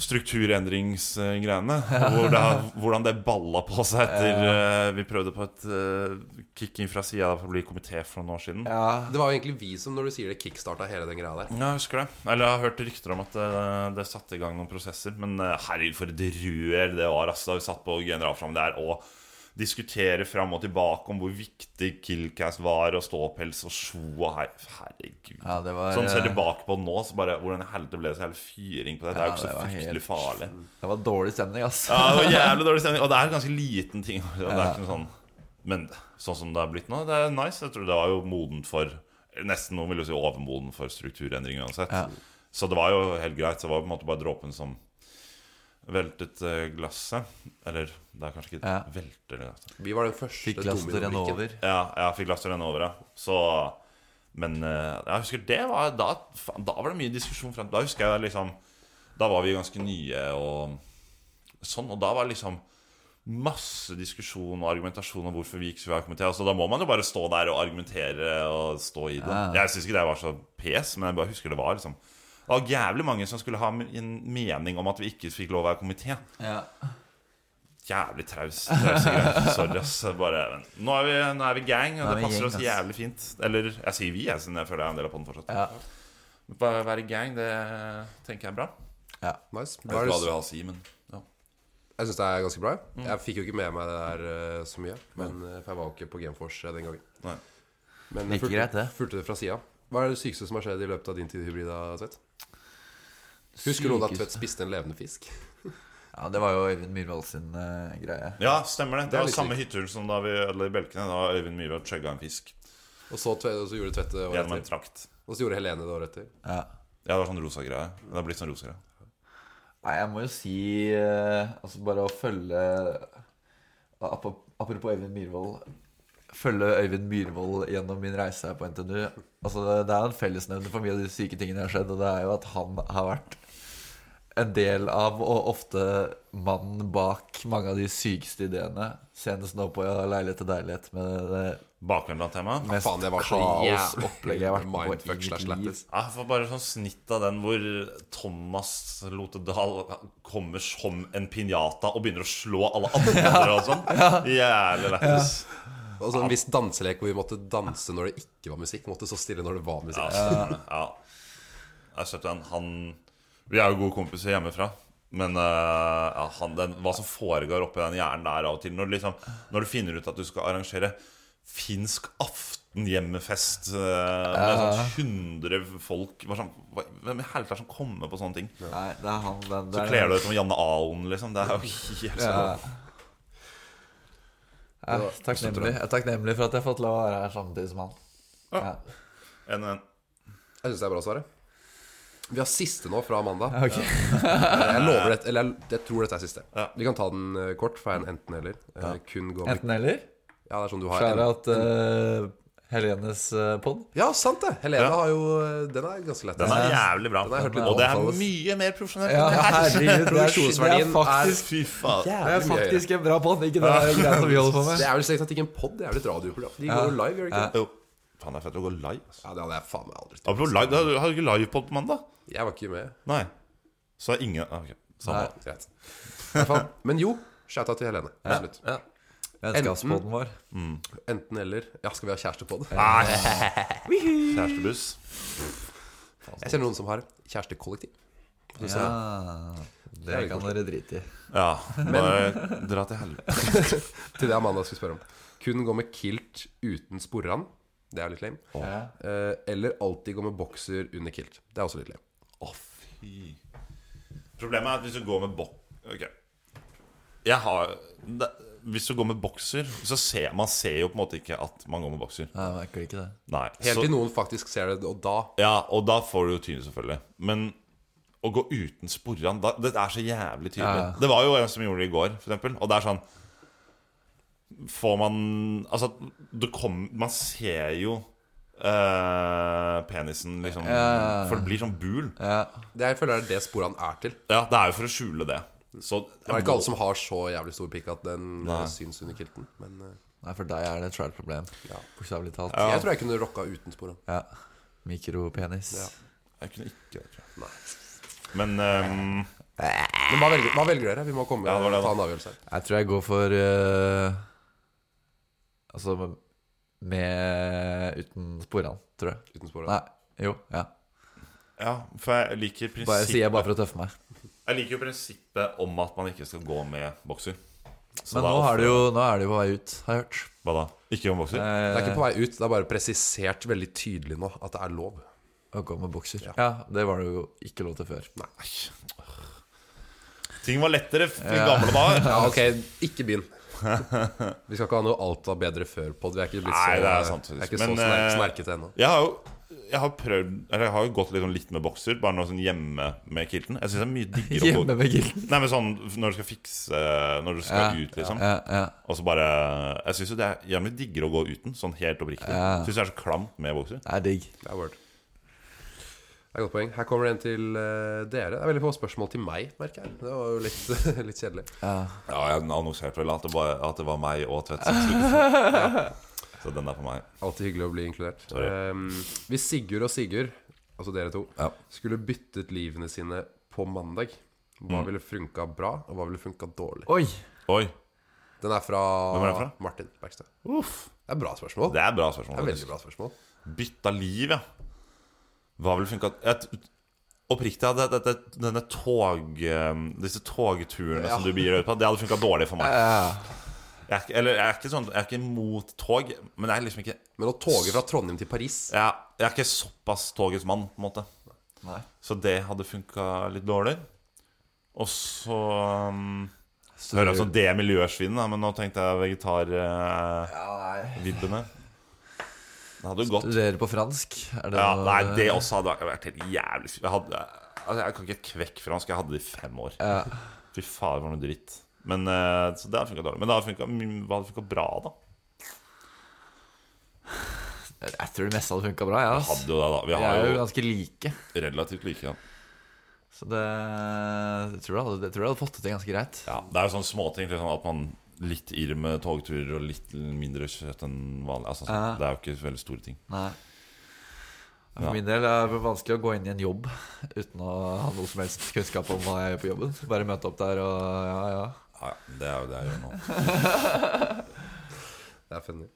Strukturendringsgreiene. Hvor det, har- hvordan det balla på seg etter eh, Vi prøvde på et uh, kick-in fra sida for å bli komité for noen år siden. Ja. Det var jo egentlig vi som, når du sier det, kickstarta hele den greia der. jeg husker det. Eller jeg har hørt rykter om at eh, det satte i gang noen prosesser. Men eh, herregud, for et rør det var altså, da vi satt på generalforsamling der og diskutere fram og tilbake om hvor viktig Killcast var, og ståpels og sjo og her, Herregud. Ja, det var, sånn ser eh, tilbake på nå, så bare hvordan i helvete ble det så jævlig fyring på det? Det er jo ikke Ja, det så var fryktelig helt- farlig. Det var dårlig stemning, ass. Ja, det var jævlig dårlig stemning. Og det er en ganske liten ting. og Det er ikke noe sånn Men sånn som det har blitt nå, det er nice. Jeg tror det var jo modent for Nesten noen vil jo si overmoden for strukturendring uansett. Ja. Så det var jo helt greit. Så det var på en måte bare dråpen som veltet eh, glasset. Eller det er kanskje ikke Ja. velter det glasset. Vi var den første Fikk glasset til å renne dominobrikken. over. Ja, jeg fikk glasset renne over, ja. Så Men eh, jeg husker det var Da, faen, da var det mye diskusjon frem Da husker jeg liksom Da var vi ganske nye og sånn, og da var det liksom masse diskusjon og argumentasjon om hvorfor vi ikke skulle være komité. Så da må man jo bare stå der og argumentere og stå i det. Ja. Jeg syns ikke det var så pes, men jeg bare husker det var liksom Det var jævlig mange som skulle ha en mening om at vi ikke fikk lov å være komité. Ja. Jævlig traus. trause greier. Sorry, ass. Bare, men nå, er vi, nå er vi gang, og Nå er det vi passer gjeng, oss ass. jævlig fint. Eller jeg sier vi, jeg, siden jeg føler jeg er en del av podden fortsatt. Ja. Men Bare være gang, det tenker jeg er bra. ja. Nice. Jeg vet Da ikke hva er du det, vil ha å si, men ja. jeg syns det er ganske bra. Mm. jeg. Jeg fikk jo ikke med meg det der eh, så mye. Men, eh, for jeg var jo ikke på Gameforce eh, den gangen. Nei. Men jeg Like greit, fulgte, det. fulgte det fra sida. Hva er det sykeste som har skjedd i løpet av din tid i hybrida, Tvedt? Husker noen at Tvedt spiste en levende fisk? Ja, det var jo Øyvind Myhrvold sin eh, greie. ja, stemmer det. Det, er var litt samme hytteturen som da vi ødela de belkene. Da var Øyvind Myhrvold chugga en fisk Og så, Tvedt- og så gjorde Tvedt det året gjennom en etter. trakt. Og så gjorde Helene det året etter. Ja. Ja, det var sånn rosa greie. Det har blitt sånn rosa greie. Nei, jeg må jo si eh, Altså bare å følge apo- Apropos Øyvind Myhrvold Følge Øyvind Myhrvold gjennom min reise her på NTNU Altså det- Det er en fellesnevner for mye av de syke tingene jeg har skjedd Og det er jo at han har vært en del av, og ofte mannen bak Mange av de sykeste ideene Senest nå på ja, leilighet til deilighet Med det Bakvendt blant tema. mest faen, det var så kaos jævlig opplegget jeg har vært på mindfuck i slash mitt liv lættis. Ja, Jeg får bare sånn snitt av den hvor Thomas Lotedal kommer som en pinjata og begynner å slå alle andre og sånn. Jævlig lættis. Og så en viss danselek hvor vi måtte danse når det ikke var musikk. Måtte stå stille når det var Ja, musikk. stemmer det. ja. Jeg kjøpte den. Han Vi er jo gode kompiser hjemmefra. Men eh, ja, han, den, hva som foregår oppi den hjernen der av og til når du, liksom, når du finner ut at du skal arrangere finsk aftenhjemmefest eh, med sånn 100 folk bare sånn, hva- Hvem i helvete er det som kommer på sånne ting? Nei, det er han den, Så det er- kler du deg ut som Janne Aon, liksom. Det er jo helt sånn. Jeg er takknemlig, jeg er takknemlig for at jeg har fått lov å være her samtidig som han. En, en. Jeg syns det er bra, Sverre. Vi har siste nå fra mandag. jeg lover det, eller jeg, jeg tror dette er siste. Vi kan ta den eh, kort, for jeg er en enten-eller. Eh, Kun gå med Enten eller. Ja, det er sånn du har Skjæra en. at eh, Helenes eh, pod Ja, sant det! Helene Ja. har jo eh, Den er ganske lett. Den er jævlig bra. Den har jeg hørt litt og det om, er Thomas. mye mer profesjonelt. Ja, enn det her. herregud. Det er, det Produksjonsverdien er faktisk, Fy faen. det er mye høyere. faktisk en bra pod, ikke det der greia som vi holder på med. Det er vel strengt tatt ikke en pod, det er vel et radioprogram. De går jo live, gjør de ikke? det? Jo. Faen, det er fett å gå live. Altså. Ja, det hadde jeg faen meg aldri trodd. Apropos live, du hadde du ikke livepod på mandag? Jeg var ikke med. Nei. Så er ingen ah, ok. Samme. Greit. I hvert fall. Men jo, shouta til Helene. Absolutt. Vennskapspodden vår. Enten eller. Ja, skal vi ha kjærestepod? Ah, Kjærestebuss. Jeg kjenner noen som har kjærestekollektiv. Ja, det kan dere drite i. Ja. Bare dra til helvete. Til det Amanda skulle spørre om. Kun gå med kilt uten sporran. Det er litt lame. Eh, Eller alltid gå med bokser under kilt. Det er også litt lame. Å, fy. Problemet er at hvis du går med bok... Ok. Jeg har det, Hvis du går med bokser, så ser man ser jo på en måte ikke at man går med bokser. Nei, jeg merker ikke det. Nei. Helt så- til noen faktisk ser det, og da Ja, og da får du jo tyn, selvfølgelig. Men å gå uten sporran da, Det er så jævlig tydelig. Ja. Det var jo en som gjorde det i går, for eksempel. Og det er sånn Får man Altså, du kom, man ser jo eh, penisen, liksom. Ja. For det blir sånn bul. Ja. Det jeg føler er det sporran er til. det er jo for å skjule det. Så Det er ikke alle som har så jævlig stor pikk at den Nei. eh, syns under kilten. Men eh, Nei, for deg er det et svært problem. Ja. Bokstavelig talt. jeg tror jeg kunne rocka uten sporran. Ja. Mikropenis. Ja. Jeg kunne ikke det, tror jeg. Men ehm, Men hva velger, hva velger dere? Vi må komme Ja, det var det, ta da. en avgjørelse her. Jeg tror jeg går for eh, Altså med, med Uten sporene, tror jeg. Uten sporene. Nei. Jo. Ja. ja, for jeg liker Bare, sier jeg prinsippet bare for å tøffe meg. Jeg liker jo prinsippet om at man ikke skal gå med bokser. Så Men da nå ofrer- er det jo nå er det jo på vei ut, har jeg hørt. Hva da? Ikke gå med bokser? Det er ikke på vei ut, det er bare presisert veldig tydelig nå at det er lov. Å gå med bokser. Ja. det var det jo ikke lov til før. Ting var lettere f- i gamle dager. Ja, ok, ikke begynn. Vi skal ikke ha noe alt var bedre før på det. Vi er ikke blitt så, Nei, det er sant, jeg er ikke så men, sner eh, snerkete ennå. Jeg har jo jeg har prøvd Eller jeg har jo gått litt, sånn litt med bokser, bare nå sånn hjemme med kilten. Jeg syns det er mye diggere å Hjemme gå med gilden. Nei, men sånn når du skal fikse Når du skal Ja, ut, liksom. Ja, ja. Og så bare Jeg syns jo det er jævlig diggere å gå uten, sånn helt oppriktig. Ja. Syns det er så klamt med bokser. Det er digg. Det er word. Det er et godt poeng. Her kommer det en til eh, dere. Det er veldig få spørsmål til meg, merker jeg. Det var jo litt, litt kjedelig. Ja, jeg annonserte vel at det var, at det var meg og Tvedt som skulle Så den er for meg. Alltid hyggelig å bli inkludert. Sorry. Ehm, hvis Sigurd og Sigurd, altså dere to, Ja. skulle byttet livene sine på mandag, hva ville funka bra, og hva ville funka dårlig? Oi! Mm. Oi. Den er fra, Hvem er den fra? Martin Bergstø. Det er bra spørsmål. Det Det er bra spørsmål. er faktisk. veldig bra spørsmål. Bytta liv, ja. Hva ville funka Jeg- Oppriktig, ja, det, det, det, denne tog, eh, disse togturene som du begir deg ut på, det hadde funka dårlig for meg. Jeg er, ikke- eller, jeg, er ikke sånn, jeg er ikke imot tog, men jeg er liksom ikke Men å toge fra Trondheim til Paris Jeg, jeg er ikke såpass togets mann, på en måte. Nei. Så det hadde funka litt dårlig. Og så um, Hører jeg sånn det miljøsvinet, da, men nå tenkte jeg vegetarvibbene. Nei. det hadde jo gått Studerer på fransk. Er det Ja, noe- nei, det også hadde vært helt jævlig Jeg, hadde, altså, jeg kan ikke et kvekk fransk. Jeg hadde det i fem år. Ja. Fy faen, det var noe dritt. Men, eh, så det hadde funka dårlig. Men det hadde funket my- hva hadde funka bra, da? Jeg tror det meste hadde funka bra. Ja, ass. Hadde jo det, da. Vi Vi er har jo jo ganske like. relativt like. Ja. Så det jeg tror jeg hadde, jeg tror jeg hadde fått det til ganske greit. Ja, det er jo sånne småting. Liksom, at man litt irr med togturer og litt mindre kjøtt enn vanlig. Altså, sånn. Ja. Det er jo ikke veldig store ting. Nei. For Ja. min del er det vanskelig å gå inn i en jobb uten å ha noe som helst kunnskap om hva jeg gjør på jobben. Bare møte opp der og ja, ja. Ja, ja, det er jo det jeg gjør nå. Det er funny.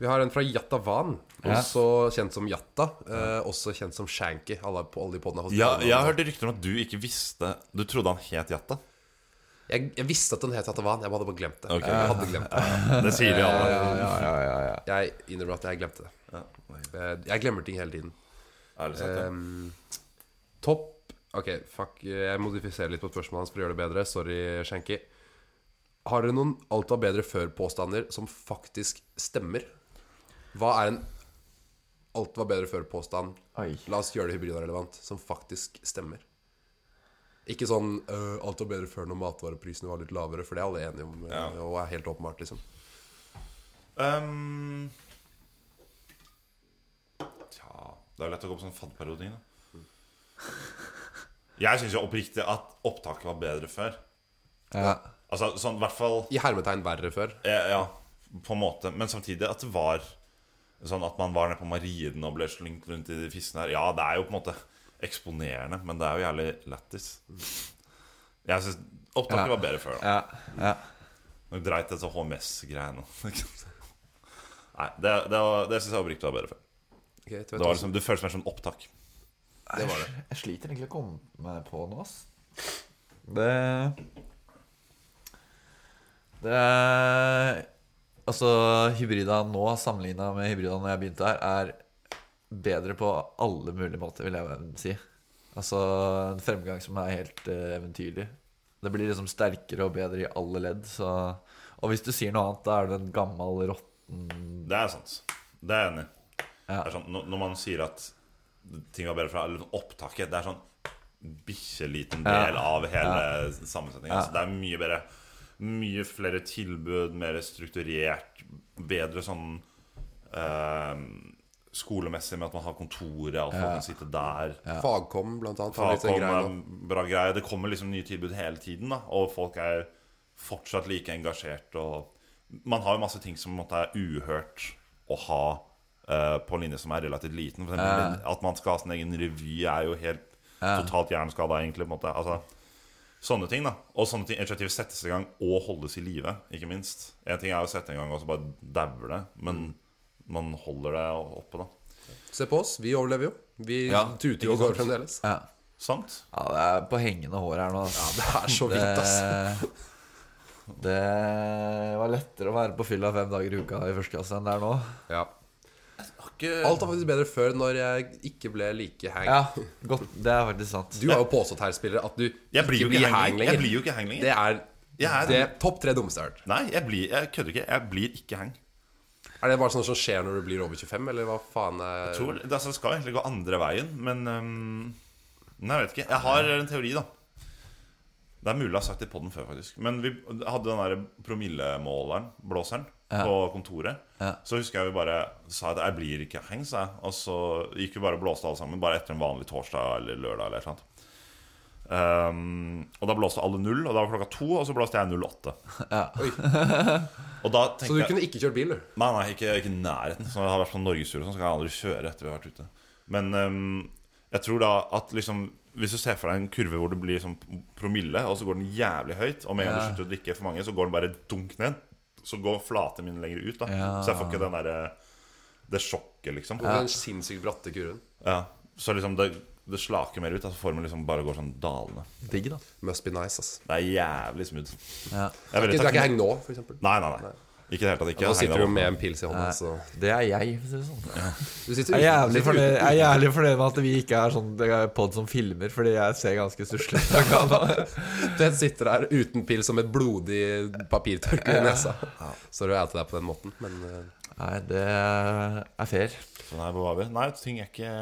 Vi har en fra Jattavan, Ja. også kjent som Jatta. Eh, også kjent som Shanky. Alle, på alle de podene har fått Ja, navnet. jeg hørte rykter om at du ikke visste Du trodde han het Jatta. jeg, jeg visste at den het Jattavan, jeg hadde bare glemt det. Ok. Jeg hadde glemt det Det sier vi alle. Jeg innrømmer at jeg glemte det. Eh, Jeg glemmer ting hele tiden. Ærlig Eh, sagt, ja. Ehm, topp Ok, fuck. Jeg modifiserer litt på spørsmålet hans for å gjøre det bedre. Sorry, Shanky. Har dere noen alt var bedre før-påstander som faktisk stemmer? Hva er en alt var bedre før-påstand. Oi. La oss gjøre det hybrida relevant, som faktisk stemmer. Ikke sånn øh, 'alt var bedre før når matvareprisene var litt lavere', for det er alle enige om, øh, Ja. og er helt åpenbart, liksom. Ehm, Tja Det er jo lett å gå på sånn fadderparodi, da. Jeg syns jo oppriktig at opptaket var bedre før. Ja. Altså sånn i hvert fall I hermetegn verre før. ja, ja, på en måte. Men samtidig at det var sånn at man var nede på Marieden og ble slengt rundt i de fissene her. Ja, det er jo på en måte eksponerende, men det er jo jævlig lættis. Jeg syns opptaket Ja. var bedre før, da. Ja. ja. Nå dreit dette HMS-greiene. Nei, det, det, var- det syns jeg oppriktig var bedre før. Ok, Tvedt Det, var Hansen. liksom, det føles mer som opptak. det var det. Jeg sliter egentlig å komme meg på noe, ass. Det Det er Altså, hybrida nå sammenligna med hybrida når jeg begynte her, er bedre på alle mulige måter, vil jeg si. Altså en fremgang som er helt eh, eventyrlig. Det blir liksom sterkere og bedre i alle ledd, så Og hvis du sier noe annet, da er du en gammel råtten Det er sant. Det er jeg enig i. Ja. Det er sånn, når- Når man sier at ting var bedre fra eller opptaket, det er sånn bitte liten del av hele sammensetningen. Altså, det er mye bedre. Mye flere tilbud, mer strukturert, bedre sånn eh, Skolemessig med at man har kontoret, at folk kan sitte der. Fagkom, blant annet. har blitt en Fagkom greie er nå. en bra greie. Det kommer liksom nye tilbud hele tiden, da, og folk er fortsatt like engasjert. Og man har jo masse ting som på en måte er uhørt å ha eh, på en linje som er relativt liten. For eksempel, At man skal ha sin egen revy, er jo helt totalt hjerneskada, egentlig. på en måte altså, Sånne ting, da. Og sånne ting, initiativ settes i gang og holdes i live, ikke minst. En ting er å sette i gang og så bare dauer det, men man holder det oppe, da. Se på oss, vi overlever jo. Vi Ja, tuter jo og ikke går sant? fremdeles. ja. Sant? ja, det er på hengende hår her nå. ass. Det er så vidt, ass. Eh, Det, det var lettere å være på fylla fem dager i uka i første klasse enn det er nå. Ja. Ikke Alt var faktisk bedre før, når jeg ikke ble like hang. Ja, godt, det er faktisk sant. Du har jo påstått her, spiller, at du Jeg blir jo ikke blir ikke hang hang lenger. Jeg lenger. blir jo ikke hang lenger. Det er, Jeg er- det topp tre dummeste jeg har hørt. Nei, jeg, blir, jeg kødder ikke. Jeg blir ikke hang. Er det bare sånn som skjer når du blir over 25, eller hva faen er Tror, det altså, skal egentlig gå andre veien, men øhm, Nei, jeg vet ikke. Jeg har en teori, da. Det er mulig jeg har sagt det på den før, faktisk. Men vi hadde den der promillemåleren, blåseren, på kontoret. Så husker jeg vi bare sa at 'jeg blir ikke hang', sa jeg. Og så gikk vi bare og blåste alle sammen, bare etter en vanlig torsdag eller lørdag eller et eller annet. Ehm, og da blåste alle null, og da var klokka to, og så blåste jeg 08. og da tenkte Så du jeg kunne ikke kjørt bil, du? Nei, nei, ikke, ikke i nærheten. Så jeg har vært på norgestur, og sånn, så kan jeg aldri kjøre etter vi har vært ute. Men øhm, jeg tror da at liksom Hvis du ser for deg en kurve hvor det blir sånn promille, og så går den jævlig høyt, og med en gang du slutter å drikke for mange, så går den bare dunk ned. Så går flate mine lenger ut, da. Så jeg får ikke den derre det sjokket, liksom. På den sinnssykt bratte kurven. Ja. Så liksom det, det slaker mer ut. Da, så formen liksom bare går sånn dalende. Digg, da. Must be nice, ass. Det er jævlig smooth. Ja. Jeg er Du skal veldig ikke takknemlig. henge nå, for eksempel. Nei, nei, nei. Ikke i det hele tatt. Ikke Nå henge sitter deg du opp. med en pils i hånda, så Det er jeg, for å si det sånn. Du sitter Jeg uten- er jævlig du sitter fornøyd, uten- jeg er jævlig fornøyd med at vi ikke er sånn pod som filmer, fordi jeg ser ganske stusslig ut. av kamera. Den sitter der uten pil som et blodig papirtørkle i nesa. Så du er til deg på den måten, men eh, Nei, det er fair. Så Nei, Sånn hvor var vi? Nei, ting er ikke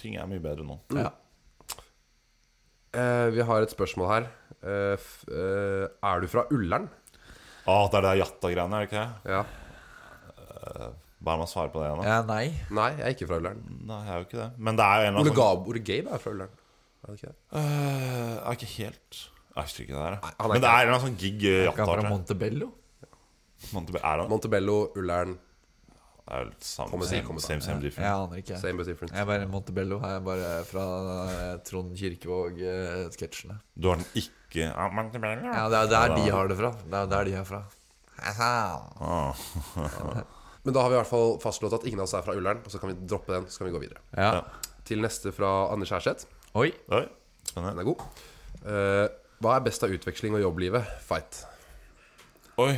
Ting er mye bedre nå. Ja. eh, Vi har et spørsmål her. Eh, f- eh, er du fra Ullern? Å, Ah, det er det jatta-greiene, er det ikke det? Ja. Hva er det man svarer på det igjen? da? Ja, nei. Nei, jeg er ikke fra Ullern. Nei, jeg er jo ikke det. Men det er jo en Ole eller annen Gab- Ole Gabe er fra Ullern. Er det ikke det? sånn Øh, Jeg er ikke helt Jeg husker ikke det der. jeg. han er Men ikke det er en eller annen sånn gig eh, Ikke jatta. han fra tror jeg. Montebello? Montebello- Er han? Montebello, Ullern, Det er vel samme Kommer til, same, kommer til. same, same Jeg difference. aner ikke. same but different. Jeg er bare Montebello her, bare fra eh, Trond eh, Kirkevåg-sketsjene. Du har den ikke Ah, Ja, Montebello. Ja, det er der de har det fra. Det er der de er fra. Haha. Ah. Men da har vi i hvert fall fastslått at ingen av oss er fra Ullern, og så kan vi droppe den, så kan vi gå videre. Ja. Til neste fra Anders Herseth. Oi. Oi, Den spennende. er god. Eh, hva er best av utveksling og jobblivet? Fight. Oi.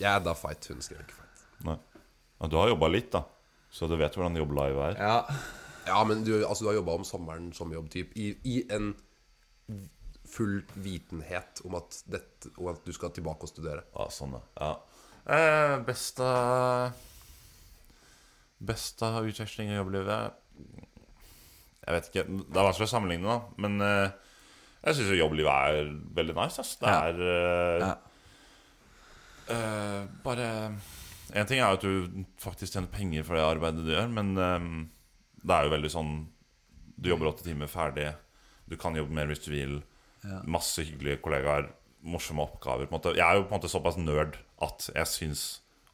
Jeg er da fight. Hun skrev ikke fight. Nei. Ja, du har jobba litt, da. Så du vet hvordan jobb live er. Ja. Ja, men du, altså, du har jobba om sommeren som jobbtyp i, i en full vitenhet om at, dette, om at du skal tilbake og Ah, studere. Ja, sånn, ja. ja. Eh, best av Best av utveksling og jobblivet Jeg vet ikke. Det er vanskelig å sammenligne, da. Men eh, jeg syns jobblivet er veldig nice. Ass. Det Ja. er eh, Ja. eh, bare En ting er jo at du faktisk tjener penger for det arbeidet du gjør, men eh, det er jo veldig sånn Du jobber åtte timer ferdig, du kan jobbe mer hvis du vil. Ja. Masse hyggelige kollegaer, morsomme oppgaver. På en måte. Jeg er jo på en måte såpass nerd at jeg syns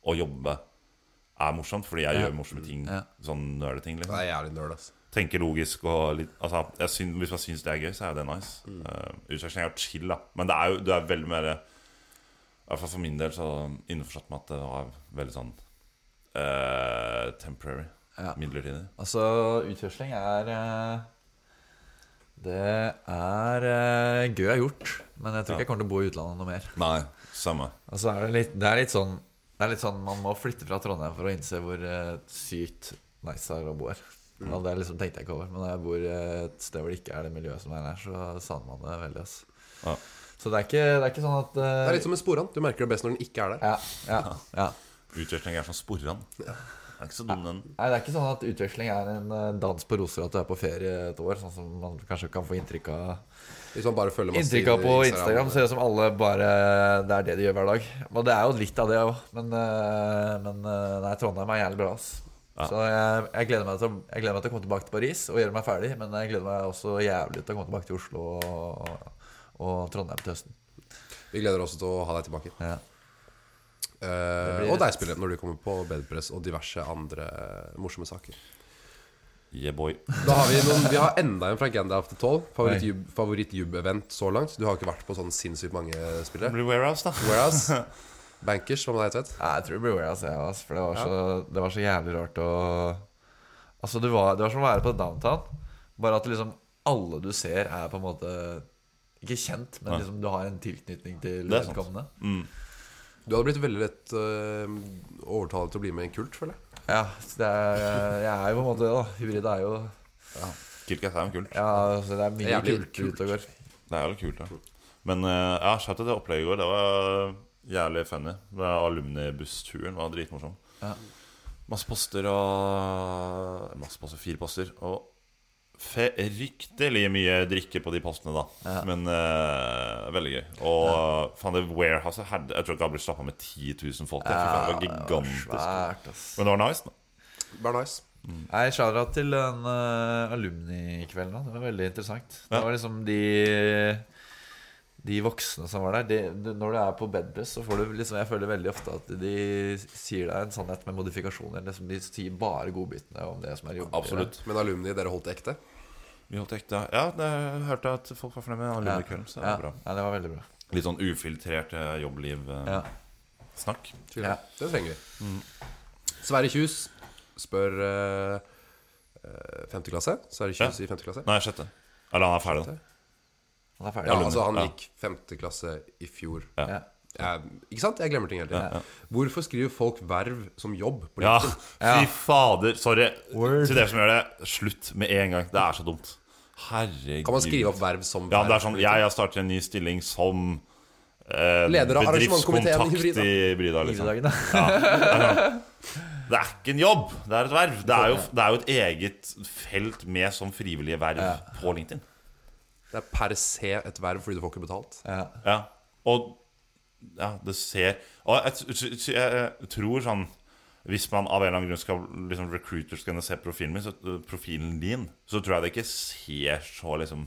å jobbe er morsomt, fordi jeg Ja. gjør morsomme ting. Ja. Sånn nerdeting. Det Liksom. er jævlig nerd, ass. Tenker logisk og litt altså, jeg syn- Hvis man syns det er gøy, så er jo det nice. Mm. Utveksling er jo chill, da. Men det er jo du er veldig mer I hvert fall for min del så innforstått med at det var veldig sånn eh, temporary. Ja. Midlertidig. Altså, utførsling er eh, Det er eh, gøy jeg har gjort, men jeg tror ikke jeg kommer til å bo i utlandet noe mer. Nei, samme. Altså, er det, litt, det, er litt sånn, det er litt sånn Man må flytte fra Trondheim for å innse hvor eh, sykt nice det er å bo her. Og det liksom tenkte jeg ikke over, men når jeg bor eh, et sted hvor det ikke er det miljøet som er her, så savner man det veldig. ass. Ja. Så det er, ikke, det er ikke sånn at eh, Det er litt sånn- som en sporhånd. Du merker det best når den ikke er der. ja, ja, ja. Utveksling er som sporran. Det er ikke så dum, den. Nei, Det er ikke sånn at utveksling er en eh, dans på roser at du er på ferie et år, sånn som man kanskje kan få inntrykk av. Hvis man bare følger masse Inntrykk av på i Instagram ser ut som alle bare Det er det de gjør hver dag. Og det er jo litt av det òg, men, eh, men eh, nei, Trondheim er jævlig bra. Ass. Så jeg, jeg, gleder meg til, å- jeg gleder meg til å komme tilbake til Paris og gjøre meg ferdig. Men jeg gleder meg også jævlig til å komme tilbake til Oslo og, og Trondheim til høsten. Vi gleder oss til å ha deg tilbake. Ja. Eh, blir og rett. deg, spiller, når du kommer på Bedpress og diverse andre eh, morsomme saker. Yeah, boy. Da har Vi noen, vi har enda en fra Agenda After 12. Favoritt-jub- Favoritt-jub-event så langt. Du har ikke vært på sånn sinnssykt mange Det spillere. blir warehouse, da. Whereas Bankers, hva med deg, Tvedt? Nei, Jeg tror det blir Warehouse, jeg ass, For det var, så, det var så jævlig rart å Altså, det var, det var som å være på downtown. Bare at liksom alle du ser, er på en måte ikke kjent, men Ja. liksom du har en tilknytning til Det er sant. vedkommende. Mm. Du hadde blitt veldig lett uh, overtalt til å bli med i en kult, føler jeg. Ja, så det er, jeg er jo på en måte det, da. Hybrid er jo Kilkas er jo kult. Ja, altså, det er mye Jævlig kult, kult. ute og går. Det er jo litt kult, da. Men eh, ja, shout til det opplegget i går. Det var eh, jævlig funny. Det var Alumnibussturen var dritmorsom. Ja. Masse poster og Masse poster, fire poster. Og fryktelig mye drikke på de postene, da. Ja. Men eh, veldig gøy. Og faen, det warehouset her Jeg tror ikke jeg hadde blitt stappa med 10 000 folk. Jeg, det var gigantisk. Svært, ass. Men det var nice, da. Bare nice. Nei, shout-out til den uh, alumnikvelden. da. Det var veldig interessant. Det Ja. var liksom de De voksne som var der de, de, Når du er på bedpress, så får du liksom Jeg føler veldig ofte at de sier deg en sannhet med modifikasjoner. Liksom, de sier bare godbitene om det som er jobb. Absolutt. Men alumni, dere holdt det ekte? Vi holdt ekte. Ja, det hørte jeg at folk var fornøyd med alumnikvelden, så det Ja. var bra. Nei, det var veldig bra. Litt sånn ufiltrert eh, jobbliv-snakk. Ja. Ja. Det trenger vi. Mm. Sverre Kjus spør eh, eh, femte klasse. Sverre Kjus i femte klasse. Nei, sjette. Eller han er ferdig, da. Han er ferdig. Ja, alumni, altså han ja. gikk femte klasse i fjor. Ja. Ja. Jeg, ikke sant? Jeg glemmer ting hele tiden. Hvorfor skriver folk verv som jobb på Ja, LinkedIn? fy fader. Sorry til dere som gjør det. Slutt med en gang. Det er så dumt. Herregud. Kan man skrive opp verv som Ja, verv? det er sånn på Jeg LinkedIn? har startet en ny stilling som eh, Leder av arrangementkomiteen i bedriftskontakt i Brida, liksom. Hviledagen, da. sånn. Det er ikke en jobb, det er et verv. Det er jo, det er jo et eget felt med som frivillige verv på LinkedIn. Det er per se et verv fordi du får ikke betalt. Ja. Ja, og ja, det ser Og jeg, t- t- t- jeg tror sånn Hvis man av en eller annen grunn skal liksom, Recruiter skal kunne se profilen min så, Profilen din Så tror jeg det ikke ser så liksom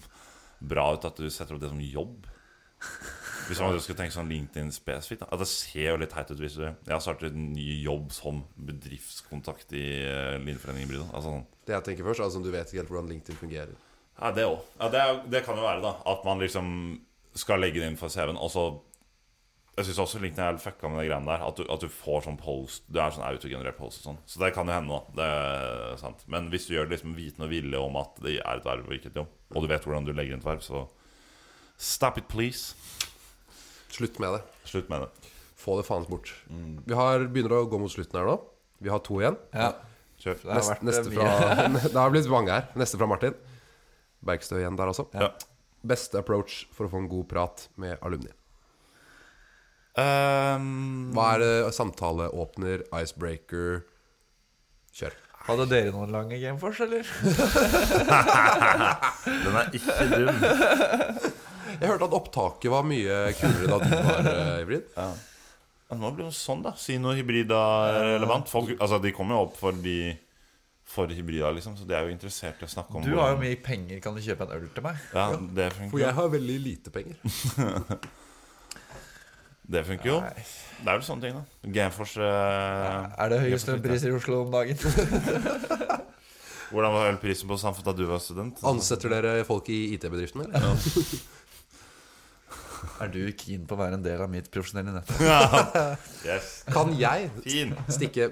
bra ut At du setter opp det som jobb Hvis man skal tenke sånn LinkedIn spesifikt da. At det ser jo litt teit ut hvis du Jeg har startet en ny jobb som bedriftskontakt I eh, Linforeningen i Bryda Altså sånn Det jeg tenker først, er sånn du vet ikke helt hvordan LinkedIn fungerer. ja, det òg. Ja, det, er- det kan jo være, da. At man liksom skal legge det inn for CV-en, og så Jeg syns også LinkedIn er helt fucka med de greiene der. At du, at du får sånn post Du er sånn autogenerert post og sånn. Så det kan jo hende, da. Det er sant. Men hvis du gjør det liksom vitende og vilje om at det er et verv og ikke et jobb, og du vet hvordan du legger inn et verv, så Stop it, please. Slutt med det. Slutt med det. Få det faen bort. Vi har, begynner å gå mot slutten her nå. Vi har to igjen. ja. Kjør. Det Neste, har vært eh, neste mye. fra, det har blitt mange her. Neste fra Martin. Bergstø igjen der også. Ja. Beste approach for å få en god prat med alumni. Ehm, eh, Hva er det? Samtaleåpner, icebreaker Kjør. Hadde dere noen lange gameforce, eller? Den er ikke dum. Jeg hørte at opptaket var mye kulere da du var eh, hybrid. Ja, Nå blir det sånn, da. Si noe hybrida er relevant. Folk, altså, de kommer jo opp for de for hybrida, liksom, så de er jo interessert i å snakke om Du har jo mye penger, kan du kjøpe en øl til meg? Ja, det For funker, jeg har veldig lite penger. det funker jo. Det er vel sånne ting, da. Gameforce eh, Er det høye Gameforce strømpriser i Oslo om dagen? Hvordan var ølprisen på Samfunn da du var student? Ansetter dere folk i IT-bedriften, eller? Er du keen på å være en del av mitt profesjonelle nettverk? Yes. Kan jeg Fin. stikke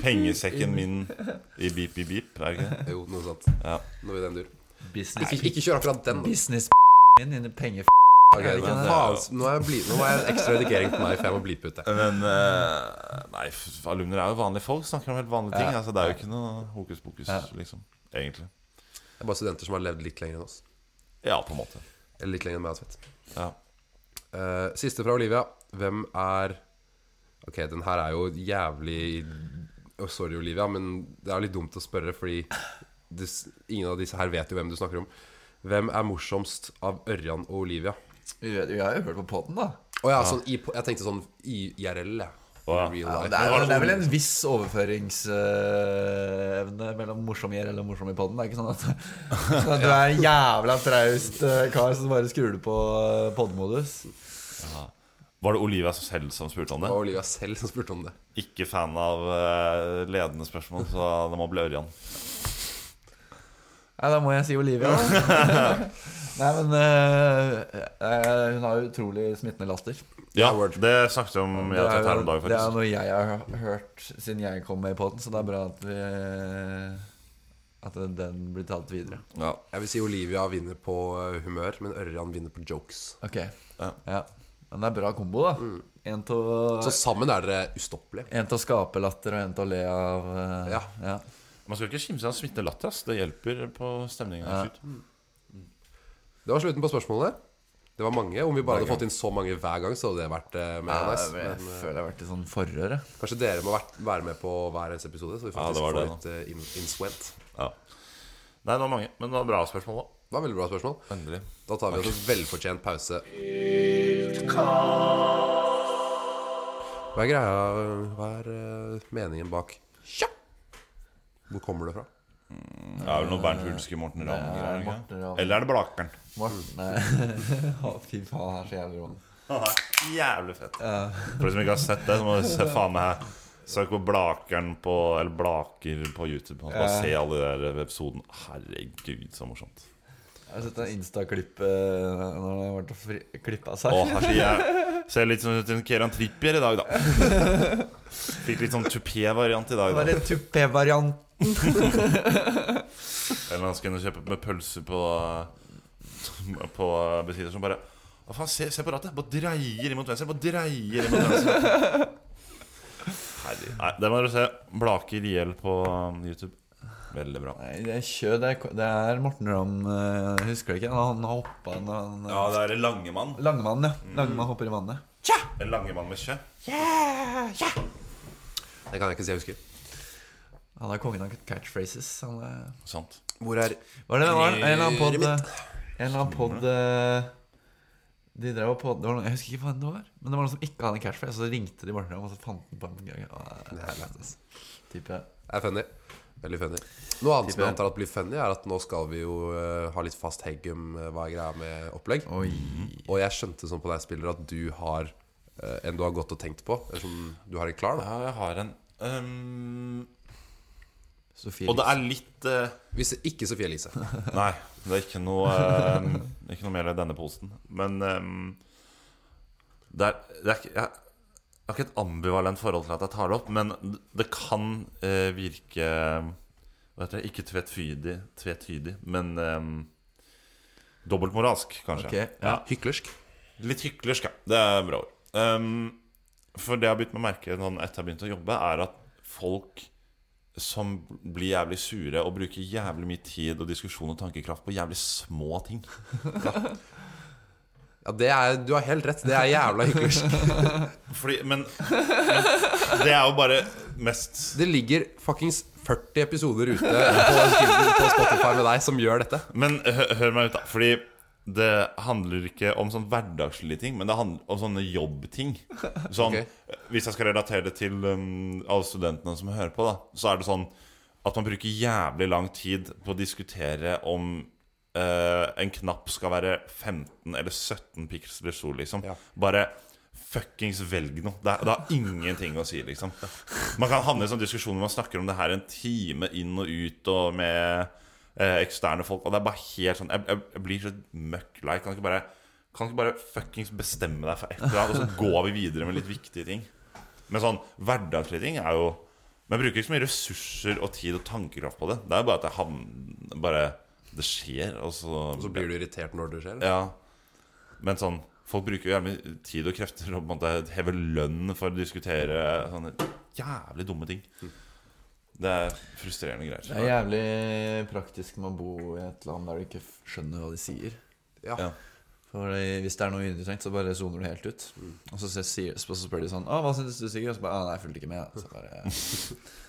Pengesekken min i beep, beep, beep, er det ikke det? Jo, noe sånt. Ja. Noe i den dur. Business Ikke, ikke kjør akkurat den. da. Business min inni penger Ok, Er det ikke men det? faen, s- nå er jeg bli- nå var jeg en ekstra redigering på meg, for jeg må blipe ut det. Men eh, Nei, f- alumner er jo vanlige folk. Snakker om helt vanlige ting. Altså, det er jo ikke noe hokus pokus, liksom. Egentlig. Det er bare studenter som har levd litt lenger enn oss. Ja, på en måte. Eller litt lenger enn meg og Tvedt. Ja. Eh, siste fra Olivia. Hvem er Ok, den her er jo jævlig oh, Sorry, Olivia, men det er jo litt dumt å spørre, fordi du, s- ingen av disse her vet jo hvem du snakker om. Hvem er morsomst av Ørjan og Olivia? Å Vi vet- vi har jo hørt på podden, da. ja, sånn i, jeg tenkte sånn i IRL, jeg. Å, ja. Real Ja, life. men det, er, det er vel en viss overføringsevne mellom morsom i RL og morsom i podden. Det er ikke sånn at, sånn at du er en jævla traust eh, kar som bare skrur det på eh, podmodus. Var det Olivia selv som spurte om det? Det var Olivia selv som spurte om det. Ikke fan av eh, ledende spørsmål, så det må bli Ørjan. Nei, da må jeg si Olivia. da. Nei, men eh, eh, hun har jo utrolig smittende latter. Ja, det snakket vi om jeg det, tatt er her jo, om dagen, det er faktisk. noe jeg har hørt siden jeg kom med i podden, så det er bra at vi eh, At den blir tatt videre. Ja. Jeg vil si Olivia vinner på eh, humør, men Ørjan vinner på jokes. Ok. Ja. Ja. Men det er bra kombo, da. En til å- Mm. Så sammen er dere ustoppelige. en til å skape latter, og en til å le av eh, Ja. ja. Man skal ikke kimse av smittende latter. ass. Det hjelper på stemningen. Ja. absolutt. Det var slutten på spørsmålene. Det var mange. Om vi bare hadde fått inn så mange hver gang, så hadde det vært eh, mer nice. Jeg Men, eh, føler jeg har vært i sånn forhøre. Kanskje dere må vært- være med på hver eneste episode, så vi Ja, det faktisk var får det, litt eh, in, innsweat. Ja. Nei, det var mange, men det var bra spørsmål, da. Det var et veldig bra spørsmål. Endelig. Da tar vi oss en velfortjent pause. Hva er greia Hva er eh, meningen bak Tja! Hvor kommer det fra? Det er vel noe Bernt Hulske, Morten Ramm Det er greier, ikke? Morten Ramm. Eller er det Blakeren? Morten eh, Å, Fy faen, han er så jævlig rå. Jævlig fett. For de som ikke har sett det, så må du se faen meg her. Søk på Blakeren på Eller Blaker på YouTube. og Bare se alle de der episodene. Herregud, så morsomt. Jeg har sett en Insta-klipp eh, når han har vært og klippa seg. Å, her sier altså, jeg Ser litt sånn ut som Keran Trippier i dag, da. Fikk litt sånn tupé-variant i dag. Det da var en tupé-variant. Eller han skal inn og kjøpe med pølse på På butikker som bare Hva faen, se, se på rattet! Bare dreier imot venstre! Bare dreier imot venstre! Herregud. Nei, det må dere se. Blaker IL på um, YouTube. Veldig bra. Nei, det er kjø. Det er, det er Morten Ramm, eh, husker du ikke? Han hoppa når han Ja, det er en langemann. Langemann, ja. Mm. Langemann hopper i vannet. En langemann med kjø. Det kan jeg ikke si jeg husker. Han er kongen av catchphrases. Han eh. er Sant. Hvor er Var det, var det en eller annen pod Livet En eller annen pod eh, De drev og pod det var noen, Jeg husker ikke hva det var Men det var noen som ikke hadde en cashflow Så ringte de Morten Ramm Og så fant den på en gang Det er lett, altså Type Det er funny. Veldig funny. Noe annet som jeg Type- antar at blir funny, er at nå skal vi jo eh, ha litt fast heggum. eh, hva er greia med opplegg? Oi Og jeg skjønte sånn på deg, spiller, at du har eh, en du har gått og tenkt på. En som du har en klar, da. Ja, jeg har en um, Sofie Og det er litt eh, Hvis ikke Sofie Elise. Nei, det er ikke noe, eh, ikke noe mer i denne posen. Men eh, det er, det er ikke, jeg, jeg har ikke et ambivalent forhold til at jeg tar det opp, men det kan eh, virke hva heter det, Ikke tvetydig, tvetydig men eh, dobbeltmoralsk, kanskje. Ok, ja. Hyklersk. Litt hyklersk, ja. Det er bra ord. Ehm, for det jeg har begynt med å merke sånn etter jeg har begynt å jobbe, er at folk som blir jævlig sure og bruker jævlig mye tid og diskusjon og tankekraft på jævlig små ting. Ja, det er, du har helt rett. Det er jævla hyklersk. Fordi, men, men det er jo bare mest Det ligger fuckings 40 episoder ute på, på Spotify med deg som gjør dette. Men hø hør meg ut, da. Fordi det handler ikke om sånn hverdagslige ting, men det handler om sånne jobbting. Sånn, Ok. Hvis jeg skal relatere det til um, alle studentene som hører på, da, så er det sånn at man bruker jævlig lang tid på å diskutere om eh, en knapp skal være 15 eller 17 piksler stor, liksom. Ja. Bare fuckings velg noe. Det, er- det har ingenting å si, liksom. Man kan havne i en sånn diskusjon hvor man snakker om det her en time inn og ut og med eh, eksterne folk, og det er bare helt sånn Jeg, jeg, jeg blir så møkk lei. Kan du ikke bare Kan du ikke bare fuckings bestemme deg for et eller annet, og så går vi videre med litt viktige ting? Men sånn hverdagslige ting er jo Men jeg bruker ikke så mye ressurser og tid og tankekraft på det. Det er jo bare at jeg havner Bare Det skjer, og så, Og så blir du irritert når det skjer. ja. Men sånn Folk bruker jo gjerne mye tid og krefter og på en måte heve lønn for å diskutere sånne jævlig dumme ting. Mm. Det er frustrerende greier. Det er jævlig praktisk med å bo i et land der du ikke f- skjønner hva de sier. Ja. Ja. For Hvis det er noe uinteressant, så bare soner du helt ut. Og så, sier, så spør de sånn 'Å, hva syns du, Sigurd?' Og så bare 'Å, nei, jeg fulgte ikke med'. Så bare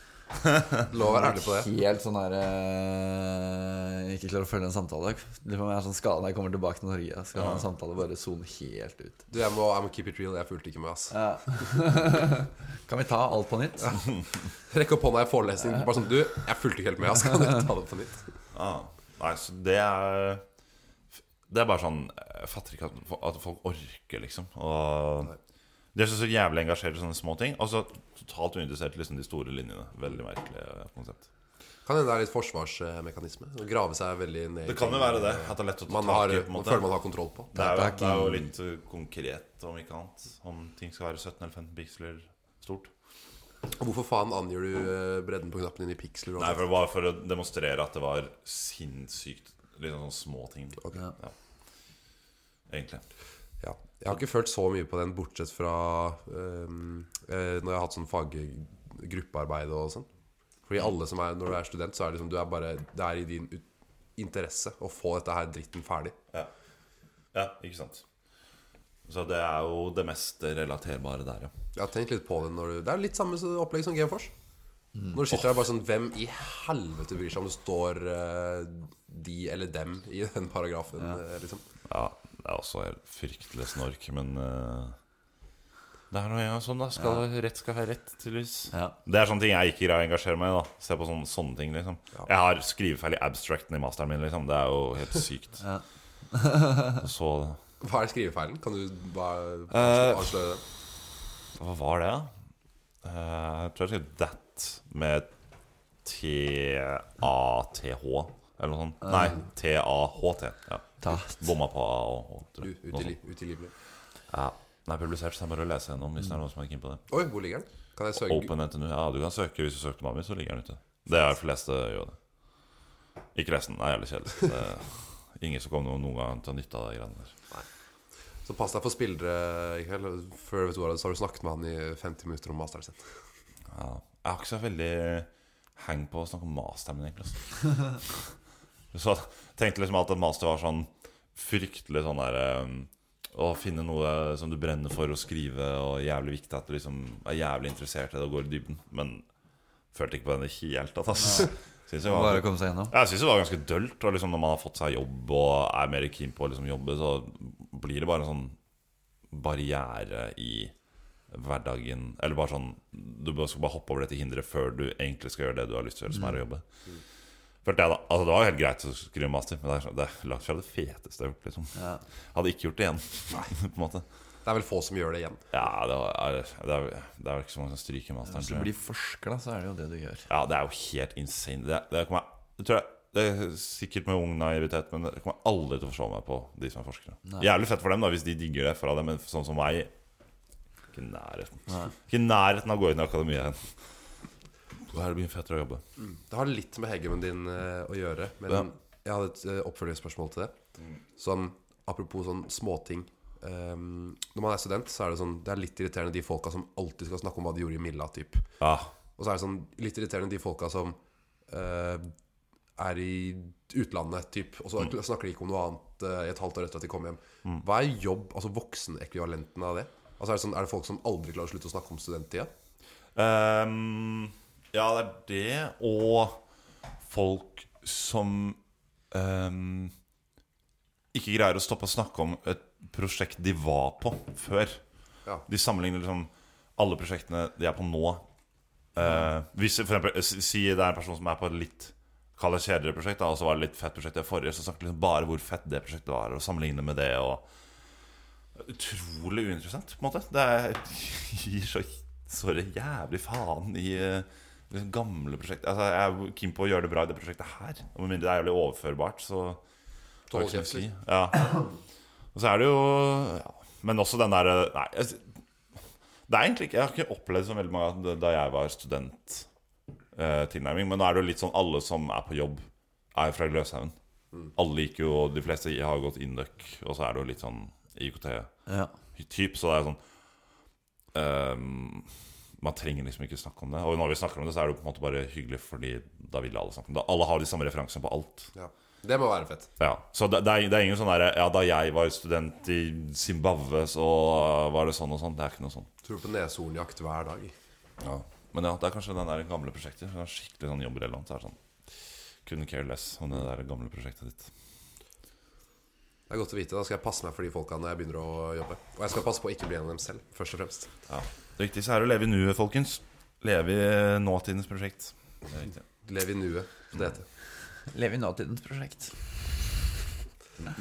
Lov å være ærlig på det. Helt sånn der eh, Ikke klarer å følge en samtale. Det er sånn skade når jeg kommer tilbake til Norge. Skal ha en samtale, bare sone helt ut. Du, jeg må, jeg må keep it real. Jeg fulgte ikke med, ass. Ja. kan vi ta alt på nytt? Rekk opp hånda i forelesning. Bare sånn, du, jeg fulgte ikke helt med, ass. Kan dere ta det på nytt? Ah, nei, så det er Det er bare sånn Jeg fatter ikke at, at folk orker, liksom. Og de er så, så jævlig engasjert i sånne små ting. Og så totalt uinteressert i liksom, de store linjene. Veldig merkelig eh, konsept. Kan hende det er litt forsvarsmekanisme. Å grave seg veldig ned i Det kan jo ting være det. At det er lett å ta man, har, tak i. på en man måte føler man har kontroll på. det, er jo, Takk. det er jo litt eh, konkret, om ikke annet. Om ting skal være 17 eller 15 piksler stort. Og Hvorfor faen angir du eh, bredden på knappen din i piksler? og Nei, alt? for, bare for å demonstrere at det var sinnssykt liksom, sånne små ting. Ja. Egentlig. Ja. Jeg har ikke følt så mye på den, bortsett fra øhm, eh, når jeg har hatt sånn faggruppearbeid og sånn. Fordi alle som er, når du er student, så er det liksom, du er bare, det er i din ut- interesse å få dette her dritten ferdig. Ja, ikke sant. Så det er jo det mest relaterbare der, ja. Jeg har tenkt litt på det når du, Det er litt samme så- opplegg som GeForce. Mm. Når du sitter der bare sånn Hvem i helvete bryr seg om det står eh, de eller dem i den paragrafen? eh, Liksom. Ja, det er også helt fryktelig snork, men eh, Det er noe jeg sånn, da. Skal, Rett skal ha rett, tydeligvis. Ja. Det er sånne ting jeg ikke greier å engasjere meg i. da Se på sånne, sånne ting, liksom. Jeg har skrivefeil i abstracten i masteren min, liksom. Det er jo helt sykt. Og så Hva er skrivefeilen? Kan du bare Eh, avsløre det? Hva var det, da? Eh, jeg tror jeg skrev 'that' med T-A-T-H, eller noe sånt. Nei, T-A-H-T. Ja. Tatt. Bomma på A og H. tror Du, jeg. ut i, Noe sånt. li- ut i livet. Ja. Den er publisert, så det er bare å lese gjennom hvis det er noen som er keen på det. Oi, hvor ligger den? Kan jeg søke Open NTNU. Ja, du kan søke hvis du søkte navnet mitt, så ligger den ute. Det er de fleste gjør det. Ikke resten. Det er jævlig kjedelig. Det er Ingen som kommer noen gang til å nytte av de greiene der. Så pass deg for spillere i kveld. og Før du vet ordet av det, så har du snakket med han i 50 minutter om masteren sin. Ja. Jeg har ikke så veldig hang på å snakke om masteren min, egentlig. altså. så jeg tenkte liksom alltid at master var sånn fryktelig sånn der eh, Å finne noe som du brenner for å skrive, og jævlig viktig at du liksom er jævlig interessert i det og går i dybden. Men følte ikke på den i det hele tatt, altså. Synes jeg var Bare å komme seg gjennom. jeg syns det var ganske dølt. Og liksom når man har fått seg jobb og er mer keen på å liksom jobbe, så blir det bare en sånn barriere i hverdagen. Eller bare sånn Du bare skal bare hoppe over dette hinderet før du egentlig skal gjøre det du har lyst til å gjøre, som er å jobbe. Følte jeg da Altså Det var jo helt greit å skrive master, men det er, sånn- det er langt fra det feteste jeg har gjort. Liksom. Ja. Hadde ikke gjort det igjen, på en måte. Det er vel få som gjør det igjen. Ja, det, var, det, er, det er jo ikke så mange som stryker masteren. Hvis du tror jeg. blir forsker, da, så er det jo det du gjør. Ja, det er jo helt insane. Det, det kommer jeg det tror jeg det er sikkert med ung naivitet, men det kommer jeg aldri til å forstå meg på, de som er forskere. Jævlig fett for dem, da, hvis de digger det fra dem, men sånn som meg Ikke i nærheten. Ikke i nærheten av å gå inn i akademia igjen. Da er det mye fettere å jobbe. Det har litt med heggemen din eh, å gjøre, men Ja. jeg hadde et eh, oppfølgingsspørsmål til det. Sånn, apropos sånn småting. Um, når man er student, så er det sånn Det er litt irriterende de folka som alltid skal snakke om hva de gjorde i Milla. Typ. Ja. Og så er det sånn litt irriterende de folka som eh, er i utlandet, typ, og så snakker de ikke om noe annet eh, i et halvt år etter at de kom hjem. Hva er jobb, altså voksenekvivalenten av det? Altså Er det, sånn, er det folk som aldri klarer å slutte å snakke om studenttida? Ehm, ja, det er det. Og folk som ehm, ikke greier å stoppe å snakke om et prosjekt de var på før. Ja. De sammenligner liksom alle prosjektene de er på nå. Eh, hvis for eksempel, si- Si det er en person som er på et litt Kall det kjedeligere prosjekt, da, og så var det litt fett prosjekt det forrige, så snakker de liksom bare hvor fett det prosjektet var, og sammenligne med det. og utrolig uinteressant, på en måte. Det er, gir så, så det jævlig faen i eh, liksom gamle prosjekter. Altså, jeg er keen på å gjøre det bra i det prosjektet her. Og med mindre det er jævlig overførbart, så har det ikke så mye å si. Ja. Og så er det jo ja. Men også den derre Nei. altså, Jeg, det er egentlig ikke Jeg har ikke opplevd så veldig mange av det da jeg var student. eh, tilnærming Men nå er det jo litt sånn alle som er på jobb, er jo fra Gløshaugen. Alle gikk jo, og de fleste har jo gått Induc, og så er det jo litt sånn IKT Ja. typ, så det er sånn ehm, Man trenger liksom ikke snakke om det. Og når vi snakker om det, så er det jo på en måte bare hyggelig, fordi da vil alle snakke om det. Alle har de samme referansene på alt. Ja. Det må være fett. Ja, Så det, det, er, det er ingen sånn derre Ja, da jeg var student i Zimbabwe, så var det sånn og sånn. Det er ikke noe sånn. Tror på neshornjakt hver dag. Ja. Men ja, det er kanskje den der gamle prosjektet. Det er skikkelig sånn jobbrelevant. Så er det sånn Couldn't care less om det der gamle prosjektet ditt. Det er godt å vite. Da skal jeg passe meg for de folka når jeg begynner å jobbe. Og jeg skal passe på å ikke bli en av dem selv, først og fremst. Ja. Det viktigste er å leve i nuet, folkens. Leve i eh, nåtidens prosjekt. Det er viktig. Lev i nuet, som det heter. Leve i nåtidens prosjekt.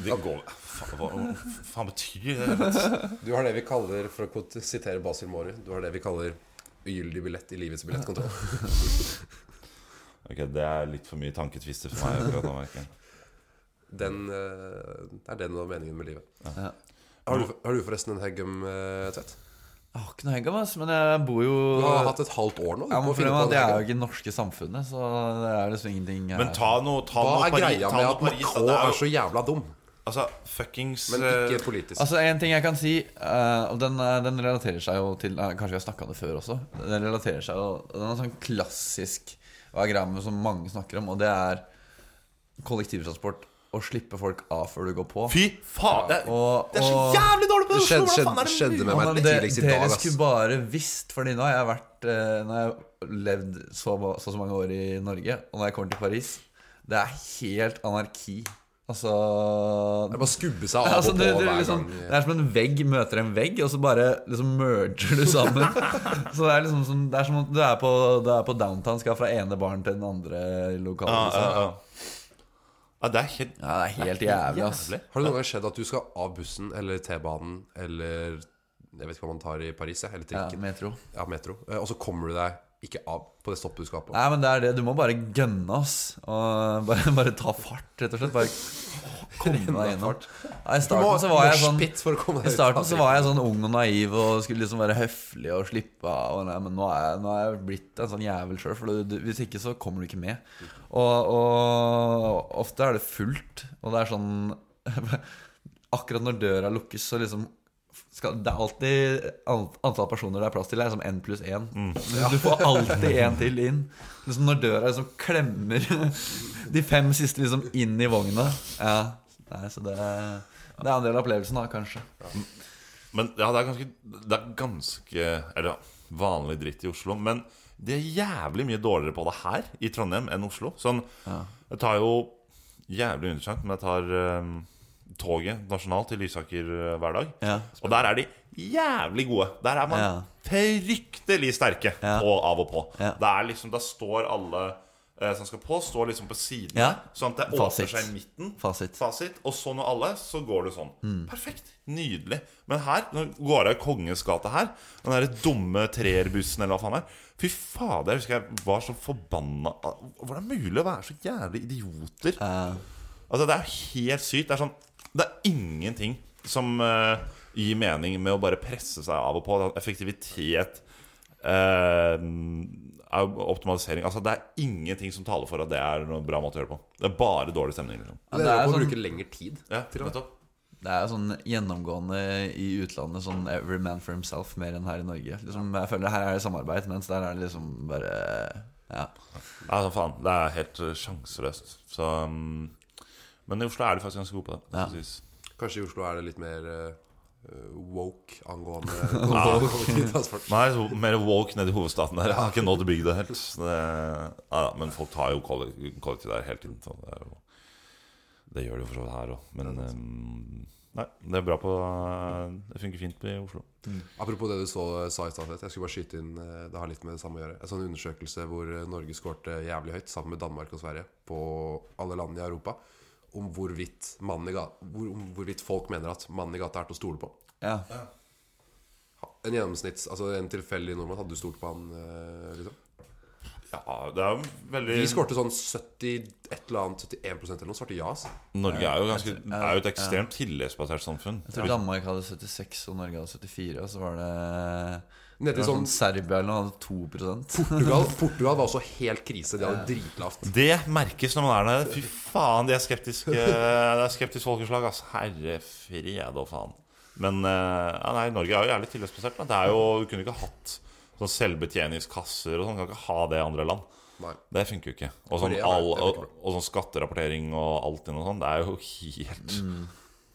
Det går Faen, hva, hva faen betyr det? Du har det vi kaller, for å kvote- sitere Basil Mori, du har det vi kaller ugyldig billett i livets billettkontroll. Ok, Det er litt for mye tanketvister for meg. akkurat nå, merker jeg. Den eh, det er den og meningen med livet. Ja. Har du, har du forresten en Heggum eh, Tvedt? Jeg har ikke noe hengam, ass, men jeg bor jo Du har hatt et halvt år nå. Du ja, må men finne på problemet, en er at Det er Heggum. jo ikke det norske samfunnet, så det er liksom ingenting jeg- Men ta noe ta Hva noe er Paris, greia ta med noe at Paris da. Macron Det er er jo så jævla dum, altså, fuckings men eh, ikke politisk? Altså, En ting jeg kan si, eh, og den, eh, den relaterer seg jo til eh, Kanskje vi har snakka om det før også. Den relaterer seg jo Den er sånn klassisk agrammet som mange snakker om, og det er kollektivtransport. Å slippe folk av før du går på. Fy faen! Det, Og- det er så og- jævlig dårlig på Det det! skjedde- Oslo, hvordan faen er skjedde- skjedde det med mulig? meg. Ja, men det de- tidligst i dag, dere ass. skulle bare visst, Fordi nå har jeg vært eh, Nå har jeg levd så, ma- så, så mange år i Norge, og når jeg kommer til Paris Det er helt anarki. Altså Det er bare å skubbe seg av Altså, og du, på du, hver liksom, gang. eh, det er som en vegg møter en vegg, og så bare liksom merger du sammen. så Det er liksom som, det er som om du er på, du er på downtown, skal fra ene baren til den andre i Ja, lokalet. ja, Liksom. ja. ja, det er helt Ja, det er helt jævlig, ass. Har det noen gang skjedd at du skal av bussen eller T-banen eller Jeg vet ikke hva man tar i Paris, jeg, eller Ja, trikken, metro. ja, metro, eh, og så kommer du deg ikke av på det stoppet du skal på. Nei, men det er det. Du må bare gønne, ass. Og bare, bare ta fart, rett og slett. Bare komme deg gjennom. Ja, I Du må starten så var jeg sånn moshpit for å komme deg I ut starten av så var jeg sånn ung og naiv og skulle liksom være høflig og slippe av. Og nei, men nå er, jeg, nå er jeg blitt en sånn jævel sjøl, for du, du, hvis ikke så kommer du ikke med. Og, og ofte er det fullt, og det er sånn Akkurat når døra lukkes, så liksom skal, Det er alltid an- antall personer det er plass til, er liksom én pluss én. Du får alltid én til inn. Liksom når døra liksom klemmer de fem siste liksom inn i vogna. Ja. Nei, så det, det er en del av opplevelsen, da, kanskje. Men ja, det er ganske Det er ganske Eller ja, vanlig dritt i Oslo. Men det er jævlig mye dårligere på det her i Trondheim enn Oslo. Sånn Jeg tar jo jævlig undersøkt, men jeg tar eh, toget nasjonalt til Lysaker eh, hver dag. Ja. Og der er de jævlig gode. Der er man Ja. fryktelig sterke Ja. på av og på. Ja. Det er liksom, Da står alle eh, som skal på, står liksom på siden. Ja. Sånn at det Fasit. åpner seg i midten Fasit. fasit, og så når alle, så går du sånn. Perfekt. Nydelig. Men her, nå går jeg i Kongens gate her, den derre dumme treerbussen eller hva faen det er Fy fader, jeg husker jeg var så forbanna Hvordan er det mulig å være så jævlig idioter? Altså, det er jo helt sykt. Det er sånn Det er ingenting som eh, gir mening med å bare presse seg av og på. Det er Effektivitet eh, au- Optimalisering Altså, det er ingenting som taler for at det er noen bra måte å gjøre det på. Det er bare dårlig stemning. liksom Ja, Det det, er er jo å sånn, bruke lengre tid. ja, til og med. nettopp. det er jo sånn gjennomgående i utlandet sånn every man for himself mer enn her i Norge. Liksom, jeg føler Her er det samarbeid, mens der er det liksom bare Ja. Altså, faen, det er helt eh, sjanseløst. Så, mm, men i Oslo er de faktisk ganske gode på det. det sånn. Ja. skal sies. Kanskje i Oslo er det litt mer eh, woke angående kollektivtransport. Man er så- mer woke nede i hovedstaden der. Jeg har ikke nådd bygda helt. Så Det, ja, ja, men folk tar jo kollek- kollektiv der hele tiden. Så det, er jo, det gjør de jo for så vidt her òg. Men eh, nei, det er bra på eh, Det funker fint i Oslo. Apropos det du så, sa i stad, Tete, jeg skulle bare skyte inn eh, Det har litt med det samme å gjøre. En sånn undersøkelse hvor eh, Norge skårte jævlig høyt sammen med Danmark og Sverige på alle land i Europa om hvorvidt, mannen i gata, hvor, om hvorvidt folk mener at mannen i gata er til å stole på. Ja. En gjennomsnitts, altså en tilfeldig nordmann, hadde du stolt på han? eh, Liksom? Ja, det er jo veldig Vi skårte sånn 70, et eller annet, 71 eller noe, svarte ja. Altså. Norge er jo, ganske, er jo et ekstremt tillitsbasert samfunn. Jeg tror Danmark hadde 76 og Norge hadde 74, og så var det, det Nede i var sånn sånn Serbia eller noe hadde 2 Portugal, Portugal var også helt krise. De hadde dritlavt. Det merkes når man er der. Fy faen, de er skeptiske Det er skeptisk folkeslag. ass. Herre fred og faen. Men eh, ja, nei, Norge er jo jævlig tillitsbasert. da. Det er jo, Du kunne ikke hatt sånn selvbetjeningskasser og sånn. Kan ikke ha det i andre land. Nei. Det funker jo ikke. Og sånn, Korea, all, det og, funker og sånn skatterapportering og alt inn og sånn, det er jo helt Mm.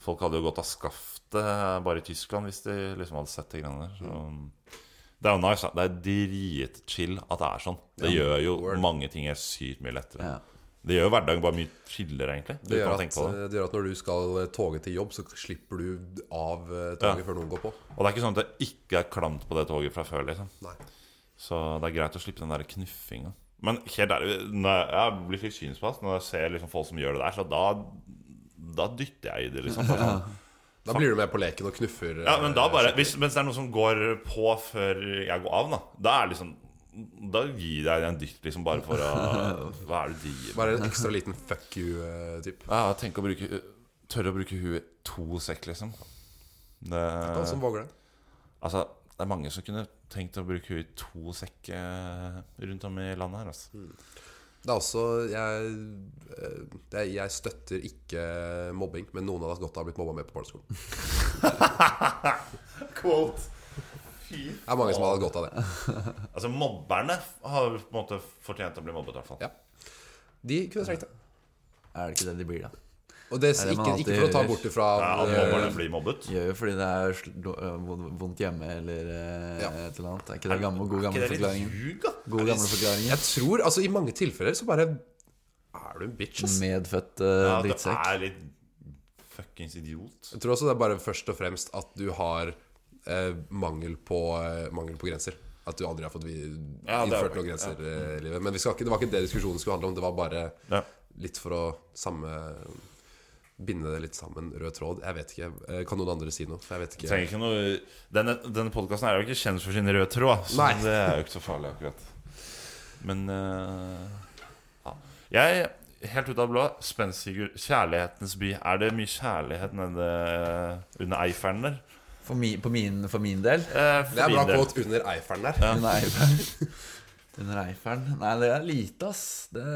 Folk hadde jo gått av skaftet eh, bare i Tyskland hvis de liksom hadde sett de greiene der. Mm. Så. Det er jo nice. da. Det er dritchill at det er sånn. Det gjør jo word. mange ting helt sykt mye lettere. Det gjør jo hverdagen bare mye chillere, egentlig. Det uten gjør, å at, tenke på det. det gjør at når du skal eh, toge til jobb, så slipper du av eh, toget Ja. før noen går på. Og det er ikke sånn at det ikke er klamt på det toget fra før, liksom. Nei. Så det er greit å slippe den der knuffinga. Men helt ærlig, når jeg, jeg blir litt kynisk på det, når jeg ser liksom folk som gjør det der, så da, da dytter jeg i det, liksom. Sånn. Da blir du med på leken og knuffer. eh, Ja, men da bare hvis, Mens det er noe som går på før jeg går av, da, da er det liksom da gir jeg en dytt, liksom, bare for å Hva er det de gjør? Bare en ekstra liten fuck eh, you-typ. Ja, tenk å bruke Tørre å bruke huet to sekk, liksom. Det, Noen Sånn som våger det. altså, det er mange som kunne tenkt å bruke huet i to sekk eh, rundt om i landet her, altså. Det er også Jeg, eh, det er- jeg støtter ikke mobbing, men noen hadde hatt godt av å ha blitt mobba med på barneskolen. Det er mange som hadde hatt godt av det. Altså, mobberne har på en måte fortjent å bli mobbet, i hvert fall. Ja. De kunne trengt det. Er det ikke det de blir, da? Og det, Er det ikke, man ikke for å ta alltid- bort ifra Ja, at eh, mobberne blir mobbet. Gjør jo fordi det er sl- do- øh, vond- vondt hjemme eller eh, Ja. et eller annet. Er ikke det gamle, god gamle Er ikke det forklaringen? litt ljug, da? God gamle forklaringen. Jeg tror, altså i mange tilfeller så bare Er du en bitch, ass? Medfødt eh, Ja, du drittsekk. er litt fuckings idiot. Jeg tror også det er bare først og fremst at du har eh, mangel, på, eh, mangel på grenser. At du aldri har fått vi, Ja, det er innført poeng, noen grenser eh, i livet. Men vi skal ikke, det var ikke det diskusjonen skulle handle om. Det var bare Ja. litt for å samme Binde det litt sammen. Rød tråd. Jeg vet ikke. Eh, Kan noen andre si noe? For jeg vet ikke. Trenger ikke noe Denne, denne podkasten er jo ikke kjent for sin røde tråd, så Nei. det er jo ikke så farlig, akkurat. Men eh, ja. Jeg, helt ut av det blå, Spenst-Sigurd, kjærlighetens by. Er det mye kjærlighet nede under Eiferen der? For, mi, på min, for min del Eh, for Det er min bra del. quote under Eiferen der. Under Eiferen. Under Eiferen. Nei, det er lite, ass. Det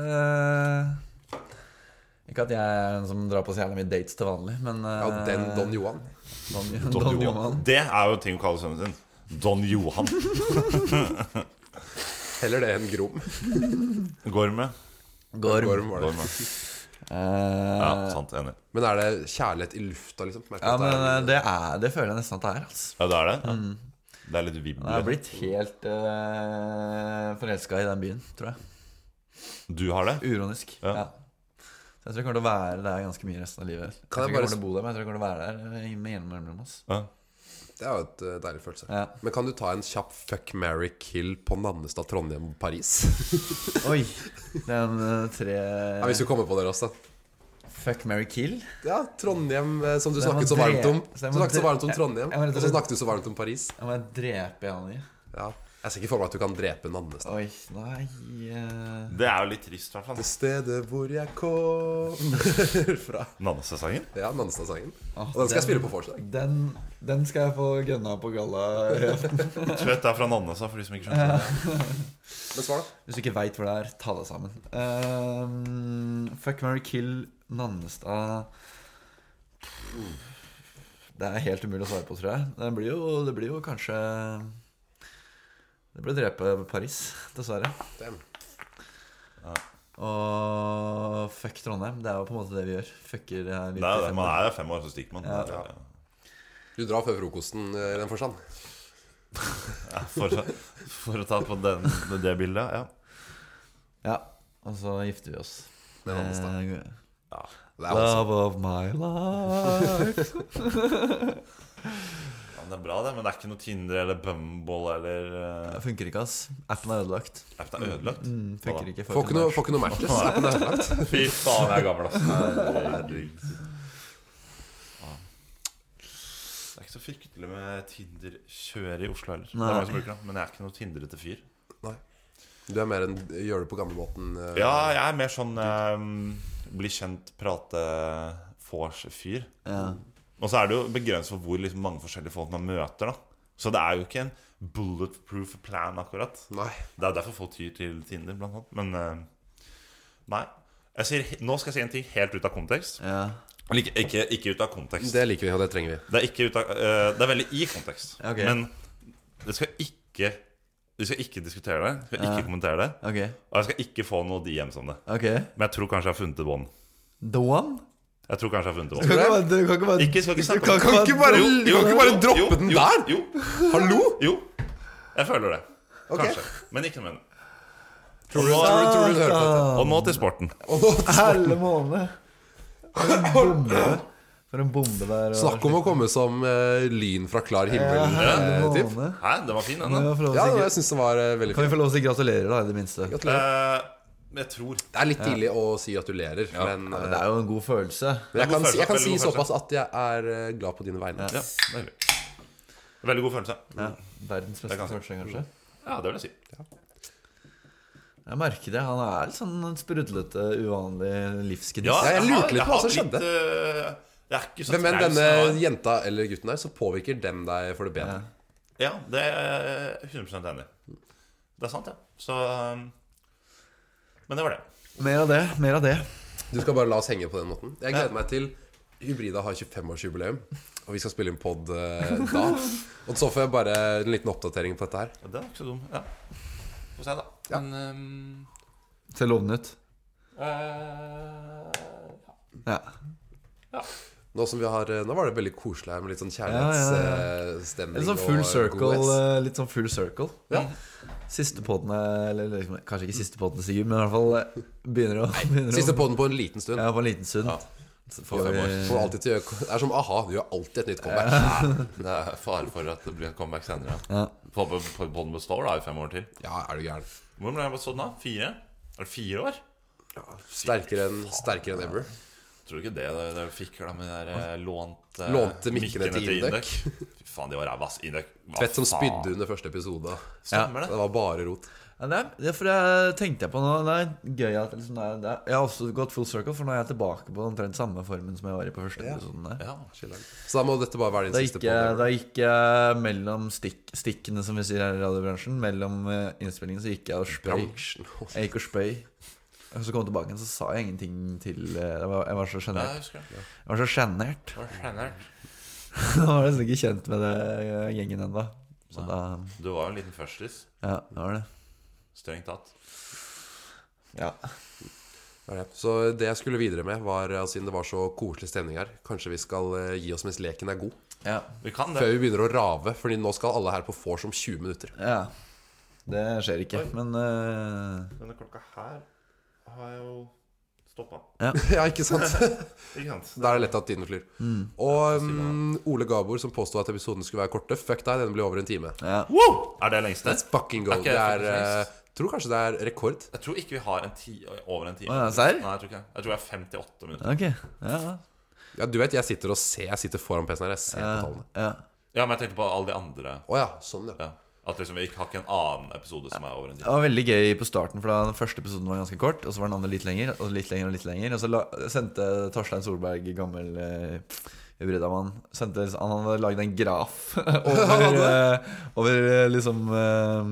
Ikke at jeg er en som drar på så jævlig mye dates til vanlig, men Ja, eh, den Don Johan. Don, Don, Don Johan. Johan. Det er jo ting å kalle sønnen sin. Don Johan Heller det enn Grom. går med. Gorm. Gorm var Går det. med. Eh, Ja, sant. Enig. Men er det kjærlighet i lufta, liksom? Merker ja, at det men er- eh, det, er, det føler jeg nesten at det er, altså. Ja, det er det? mm. Ja. Det er litt Jeg er vibler. blitt helt uh, forelska i den byen, tror jeg. Du har det? Uronisk. Ja. Ja. Så jeg tror jeg kommer til å være der ganske mye resten av livet. Jeg Kan jeg tror ikke jeg bare- kommer til å bo der, men jeg tror jeg kommer til å være der eh, med jevne mellomrom. ass. Ja. Det er jo et eh, deilig følelse. Ja. Men kan du ta en kjapp fuck, marry, kill på Nannestad, Trondheim, Paris? Oi! Den eh, tre Ja, hvis du kommer på dere også, da. Fuck, marry, kill. Ja, Trondheim, eh, som du Den må snakket så varmt dre- om. Du den må snakket så dre- varmt om Jeg- Trondheim, jeg må rett og og så slett- snakket du så varmt om Paris. Jeg må drepe en av de. Ja. Jeg ser ikke for meg at du kan drepe Nannestad. Oi, nei eh, Det er jo litt trist, i hvert fall. Det stedet hvor jeg kommer fra. Nannestad-sangen? Ja, Nannestad-sangen. ah, Og den skal jeg spille på vorslag. Den, den skal jeg få gønna på galla. Tvedt er fra Nannestad, for de som ikke skjønner det. Men svar, da. Hvis du ikke veit hvor det er, ta det sammen. Eh, fuck, marry, kill, Nannestad Det er helt umulig å svare på, tror jeg. Det blir jo, det blir jo kanskje Det blir å drepe Paris, dessverre. Damn. Og fuck Trondheim. Det er jo på en måte det vi gjør. Fucker det her Det er, litt. man er jo fem år, så stikker man. Ja. Du drar før frokosten eh, i den forstand. For, å- for å ta på den, det bildet, ja. Ja. Og så gifter vi oss. Det er hans, da. Eh, Det er hans. Love of my life. ja. men Det er bra, det, men det er ikke noe Tinder eller Bumble eller eh, Det funker ikke, ass. Appen er ødelagt. app er ødelagt. Mm, funker ikke. Får ikke noe, får ikke noe matches. er den ødelagt? Fy faen, jeg er gammel, ass. Herregud. Ja. Det er ikke så fryktelig med Tinder-kjør i Oslo heller. Det Nei. er mange som bruker det, men jeg er ikke noe Tindrete fyr. Du er mer enn gjør det på gamlemåten. eh, Ja, jeg er mer sånn eh, bli kjent, prate, vors-fyr. Ja. Og så er det jo begrenset for hvor liksom, mange forskjellige folk man møter. da Så det er jo ikke en bulletproof plan, akkurat. Nei. Det er derfor folk tyr til Tinder, blant annet. Men eh, nei. Jeg sier, he- nå skal jeg si en ting helt ut av kontekst. ja. Eller ikke, ikke, ikke ut av kontekst. Det liker vi, og det trenger vi. Det er, ikke ut av, eh, det er veldig i kontekst. Ok. Men det skal ikke vi skal ikke diskutere det, vi skal ikke Ja. kommentere det. Ok. Og jeg skal ikke få noe DMs om det. ok Men jeg tror kanskje jeg har funnet et bånd. The one? Jeg tror kanskje jeg har funnet Du det kan ikke bare, du kan ikke bare Ikke, skal ikke snakke om kan det. ikke Kan ikke bare, Jo, jo, kan ikke bare jo, droppe jo, den jo, der? Jo, Hallo? jo. Jeg føler det. Kanskje. Men ikke nødvendig. Tror du, tror du, tror du hører på dette? Og nå til sporten. Og nå Helle måned. For en bombe. For en bombe der. og- Snakk om å komme som eh, lyn fra klar himmel. Helle eh, typ. måned. Hæ, den var fin, Kan den. vi da. få lov å Ja, si- jeg syns den var eh, veldig Kan fin. vi få lov å si gratulerer, da, i det minste? Gratulerer. Eh, jeg tror Det er litt tidlig å si gratulerer, men Ja, eh, men det er jo en god Men følelse. jeg Det er kan, god si- jeg kan følelse, si veldig god såpass at jeg er eh, glad på dine vegne. Ja, deilig. Veldig god følelse. Ja, Verdens beste Det kan- følelse, kanskje. Ja, det vil jeg si. Jeg merker det. Han er litt sånn en sprudlete, uvanlig livsgnist. Ja, Jeg har- lurte litt jeg på hva som har litt, skjedde. eh, Jeg er ikke så Hvem enn traus denne av- jenta eller gutten er, så påvirker den deg for det bedre. Ja, det er jeg 100 enig i. Det er sant, ja. Så um, Men det var det. Mer av det. Mer av det. Du skal bare la oss henge på den måten. Jeg gleder meg til Hybrida har 25-årsjubileum, og vi skal spille inn pod eh, da. Og så får jeg bare en liten oppdatering på dette her. Ja, det var ikke så dum. Ja. Få se, da. Ja. Men um, Ser lovende ut. Eh, Ja. Nå som vi har eh, Nå var det veldig koselig her med litt sånn kjærlighetsstemning. Litt sånn og full god circle. S. eh, Litt sånn full circle. Ja. Siste podden er- Eller liksom, kanskje ikke siste podden til Sigurd, men i hvert fall eh, begynner å begynner å- Siste poden på en liten stund. Ja, på en liten stund. Så får vi Får alltid til å gjøre- Det er som a-ha. Du gjør alltid et nytt comeback. Det er fare for at det blir et comeback senere. Ja. Podden består da i fem år til. Ja, er du gæren. Hvor ble jeg bestått da? Fire? Er det fire år? Sterkere enn sterkere enn ever. Tror du ikke det det- det fikk da med de der eh, lånt, eh, Lånte mikkene til Indøk. Fy faen, de var ræva, ass. Indøk. hva Fett som faen? spydde under første episode. Stemmer Det det? var bare rot. Ja, det, er, det er for det tenkte jeg på nå. Det er gøy at liksom, det er, det er, Jeg har også gått full circle, for nå er jeg tilbake på omtrent samme formen som jeg var i på første episoden. Der. Ja. Så da må dette bare være din Da siste gikk, jeg, podd. da gikk jeg mellom stikk, stikkene, som vi sier her i radiobransjen, mellom eh, innspillingen, så gikk jeg og spøy. Bransjen. Jeg gikk og spøy. Og så kom jeg tilbake, igjen, så sa jeg ingenting til eh, Jeg var, jeg var så Ja, sjenert. jeg husker det. Jeg var så sjenert. Det var skjønnert. Jeg var liksom ikke kjent med det eh, gjengen ennå. Så da Du var jo en liten førstis. Ja, det var det. Strengt tatt. Ja. Det er det. Så det jeg skulle videre med, var at siden det var så koselig stemning her, kanskje vi skal eh, gi oss mens leken er god. ja. Vi kan det. Før vi begynner å rave, Fordi nå skal alle her på vors om 20 minutter. ja. Det skjer ikke, men eh, Denne klokka her har jeg jo stoppa. ja, ikke sant? Ikke sant? Da er det lett at tiden flyr. Og mm, Ole Gabor som påsto at episoden skulle være korte. Fuck deg, den blir over en time. ja. Wow! Er det lengste? Let's fucking go. Ok, Det er faktisk. eh, Tror kanskje det er rekord. Jeg tror ikke vi har en ti, over en time. Å, ja, serr? Nei, jeg tror ikke det. Jeg tror det er 58 minutter. Ok. Ja, ja. Ja, du vet, jeg sitter og ser. Jeg sitter foran PC-en her. Jeg ser på tallene. ja. Ja, men jeg tenkte på alle de andre. Å ja, sånn, ja. Ja. At liksom, vi har ikke en annen episode som er over en Det time. var veldig gøy på starten, for da den første episoden var ganske kort. Og så var den andre litt lenger, og litt lenger og litt lenger. Og så la, sendte Torstein Solberg, gammel eh, hybridamann sendte, Han hadde lagd en graf over, eh, over eh, liksom eh,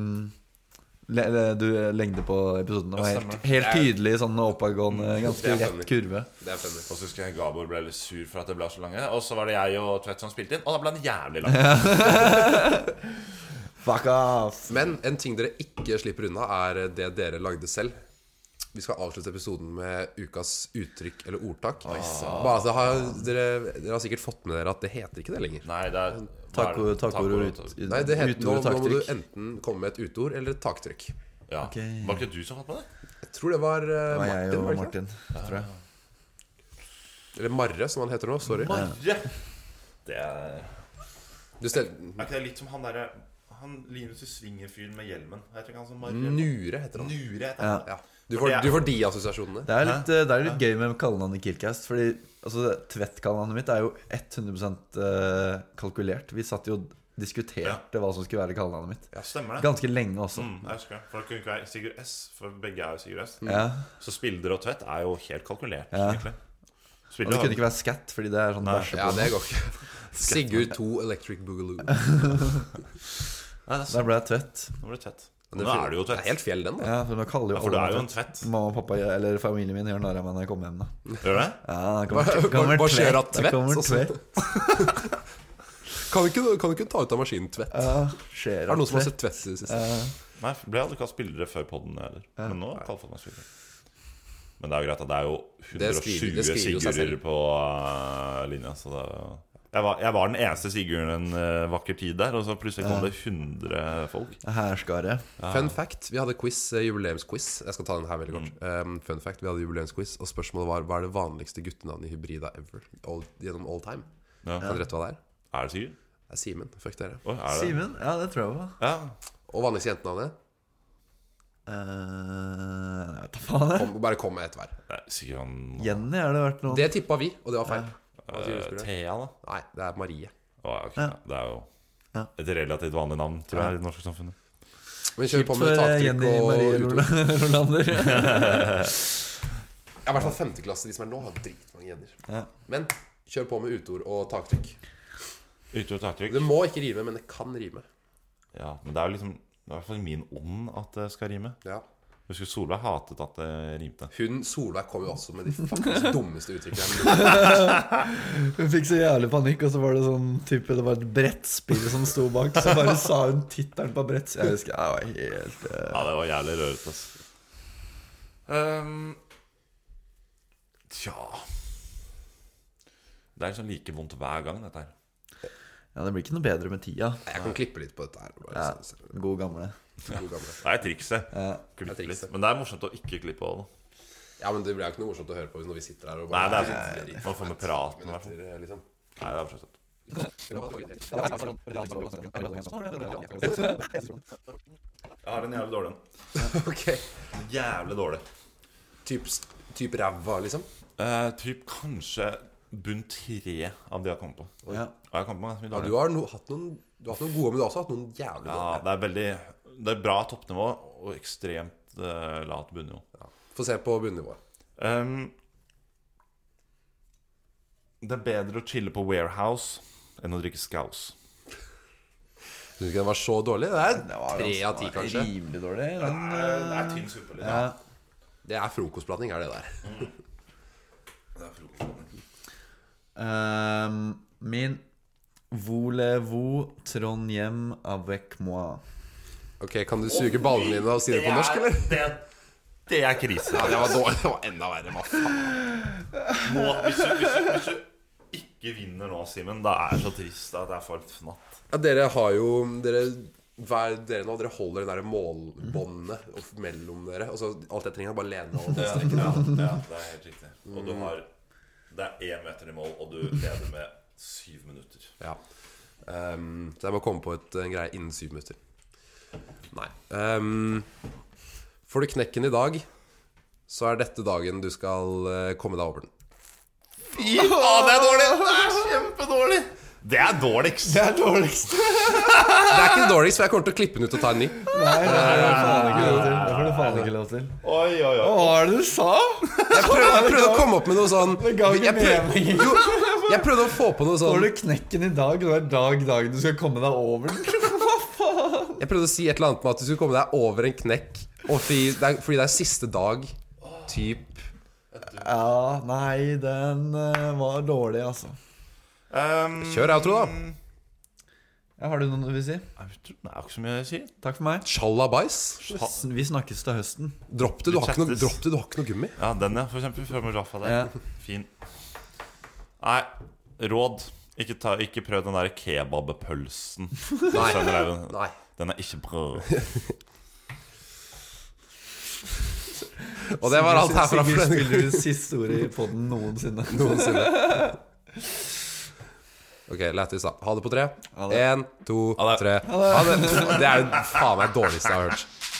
le, le, du, eh, lengde på episoden. Det var helt, helt tydelig sånn Mm. oppadgående, ganske Det er rett kurve. Det er funny. Og så husker jeg Gabor ble litt sur for at det ble så lange. Og så var det jeg og Tvedt som spilte inn, og da ble den jævlig lang. Fuck off! Men en ting dere ikke slipper unna, er det dere lagde selv. Vi skal avslutte episoden med ukas uttrykk eller ordtak. Bare, så har, dere, dere har sikkert fått med dere at det heter ikke det lenger. Nei, det er Taco, hva er det? tacoer og ut, Nei, det heter, nå, utord nå og må du taktrykk. enten komme med et utord eller et taktrykk. Ja. Ok. Var ikke du som hadde på det? Jeg tror det var eh, Det var jeg Martin, var og det ikke det? Martin, tror jeg. Eller Marre, som han heter nå. Sorry. Marre! Det er Du stel Er ikke det litt som han derre Han Linus i Svinger-fyren med hjelmen? Jeg tror ikke han som Marre Nure heter han. Nure heter Ja. han. Ja. Du, får, du får de assosiasjourene. Det er litt, eh, det er litt gøy med kallenavnet Killcast. Fordi altså, Tvedt-kallenavnet mitt er jo 100 eh, kalkulert. Vi satt jo og diskuterte hva som skulle være kallenavnet mitt. Ja, stemmer det. Ganske lenge også. Mm, jeg husker det. For det kunne ikke være Sigurd S, for begge er jo Sigurd S. Ja. Så Spilder og Tvedt er jo helt kalkulert, Ja. egentlig. Og Spilder det kunne ikke være Scat, fordi det er sånn Nei. bæsje Ja, det går ikke. Sigurd 2 Electric Boogaloo. Nei, det er Der ble jeg Tvedt. Nå ble det Tvedt. Men Nå er det jo Det er Tvedt. helt fjell, den, da. Ja, for nå kaller jo Ja, for du er alle jo en meg Tvedt. Mamma og pappa eller familien min gjør narr av meg når jeg kommer hjem. da Gjør det? Ja, da kommer, Hva- kommer hva skjer Tvedt, av da Tvedt, kommer altså? Tvedt. Kan du ikke, kan du ikke ta ut av maskinen Tvedt? Ja, skjer Er det av noen som har Tvedt. sett Tvedt i det siste? Ja. Nei, for ble aldri kalt spillere før podden heller. Men nå kaller folk meg spillere. Men det er jo greit at det er jo Det skriver- det 120 skriver jo seg Sigurder selv. på eh, linja, så det er jo jeg var, jeg var den eneste Sigurden en eh, vakker tid der, og så plutselig kom det 100 folk. Hærskare. Fun fact, vi hadde quiz, eh, jubileumsquiz. Jeg skal ta den her veldig kort. Um, fun fact, vi hadde jubileumsquiz, og spørsmålet var hva er det vanligste guttenavnet i hybrida ever? All, gjennom all time. Ja. Kan dere rette hva det er? Er det Sigurd? Det er Simen. Fuck dere. Oi, er det? Simen? Ja, det tror jeg var. Ja. Og vanligste jentenavnet? Eh, jeg vet da faen. jeg. Kom, bare kom med ett hver. Nei, Sigurd han Jenny, har det vært noe Det tippa vi, og det var feil. Hva sier du, eh, spør jeg? Thea, da? Nei, det er Marie. Å, ja, ok, ja. Det er Ja. jo et relativt vanlig navn, tror jeg, i det norske samfunnet. Men kjør på med for eh, taktrykk Jenny Marie og utord. Rola- Rolander? Ja, I hvert fall femteklasse, de som er nå, har dritmange jenner. Ja. Men kjør på med utord og taktrykk. Ute og taktrykk. Det må ikke rime, men det kan rime. Ja, men det er jo liksom Det er i hvert fall i min ånd at det skal rime. Ja. Jeg husker Solveig hatet at det rimte. Hun Solveig kom jo også med de faktisk dummeste uttrykkene. Hun fikk så jævlig panikk, og så var det sånn type Det var et brettspill som sto bak. Så bare sa hun tittelen på brett. Jeg husker jeg var helt eh, Ja, det var jævlig rørete, altså. Ehm, tja Det er liksom like vondt hver gang, dette her. Ja, det blir ikke noe bedre med tida. Jeg kan klippe litt på dette her. Bare, Ja, så- så- God gamle. god gamle. Det er trikset. Klipp Det er trikset. litt. Men det er morsomt å ikke klippe av det. Ja, men det blir jo ikke noe morsomt å høre på når vi sitter her og Nei, bare det er sånn Nå får vi praten, i hvert fall. Minutter, liksom. Nei, det er for søtt. Jeg har en jævlig dårlig en. Ok. Jævlig dårlig. Typ, typ ræva, liksom. Eh, typ kanskje bunn tre av de jeg har kommet på. Ja. Og jeg har kommet på ganske mye Ja, dårlig. du har no, hatt noen Du har hatt noen gode, men du har også hatt noen jævlig Ja, dårlige. det er veldig Det er bra toppnivå og ekstremt eh, lavt bunnivå. Få se på bunnivået. Ehm, det er bedre å chille på warehouse enn å drikke scouse. Syns ikke den var så dårlig. Det er Det var tre av ti, ganske- kanskje. Rimelig dårlig. Den, Eh, det er tynn suppe, litt. ja. Det er frokostblanding, er det der. Ehm, min Voulez-vous Trondhjem avec moi? Ok, Kan du suge ballene dine og si det på norsk, eller? Det, det er krise. Ja, det var dårlig. Det var enda verre. Hva faen? Nå, hvis, du, hvis, du, hvis du ikke vinner nå, Simen, da er jeg så trist at jeg får et fnatt. Ja, dere har jo Dere hver, dere nå, dere holder det der målbåndet opp mellom dere. Og så Alt jeg trenger, er bare lene over den streken. Ja, ja, det er helt riktig. Og Mm. du har Det er én meter i mål, og du leder med syv minutter. Ja. Ehm, så jeg må komme på et, en greie innen syv minutter. Nei. Ehm, får du knekken i dag, så er dette dagen du skal eh, komme deg over den. Fy faen, det er dårlig! Det er kjempedårlig! Det er dårligst. Det er dårligst. Det er ikke dårligst, for jeg kommer til å klippe den ut og ta en ny. Nei, det får du faen ikke lov til. Det får du faen ikke lov til. Oi, oi, oi. Hva var det du sa? Jeg prøvde, jeg prøvde å komme opp med noe sånn Det ga jo jeg ikke prøvde, mening. jo, jeg prøvde å få på noe Får sånn du knekken i dag? Det er dag dagen du skal komme deg over den. Jeg prøvde å si et eller annet med at du skulle komme deg over en knekk. Og fordi det er, fordi det er siste dag Typ Ja, nei, den eh, var dårlig, altså. Um, Kjør outro, da. Ja, har du noe du vil si? Jeg tror- Det er jo ikke så mye å si. Takk for meg. Sjalabais. Vi snakkes til høsten. Dropp det, du har ikke noe, Chattes. dropp det, du har ikke noe gummi. Ja, den, ja, for eksempel. Før med Rafa der. Ja. Fin. Nei, råd. Ikke, ta, ikke prøv den der kebabpølsen. Nei. Nei. Den er ikke bra. Og det var alt herfra for Sigurd denne spiller ut siste ordet i podden noensinne. Noensinne. Ok, lættis, da. Ha det på tre. Én, to, Ha det. tre. Ha det. Det er jo faen meg dårligste jeg har hørt.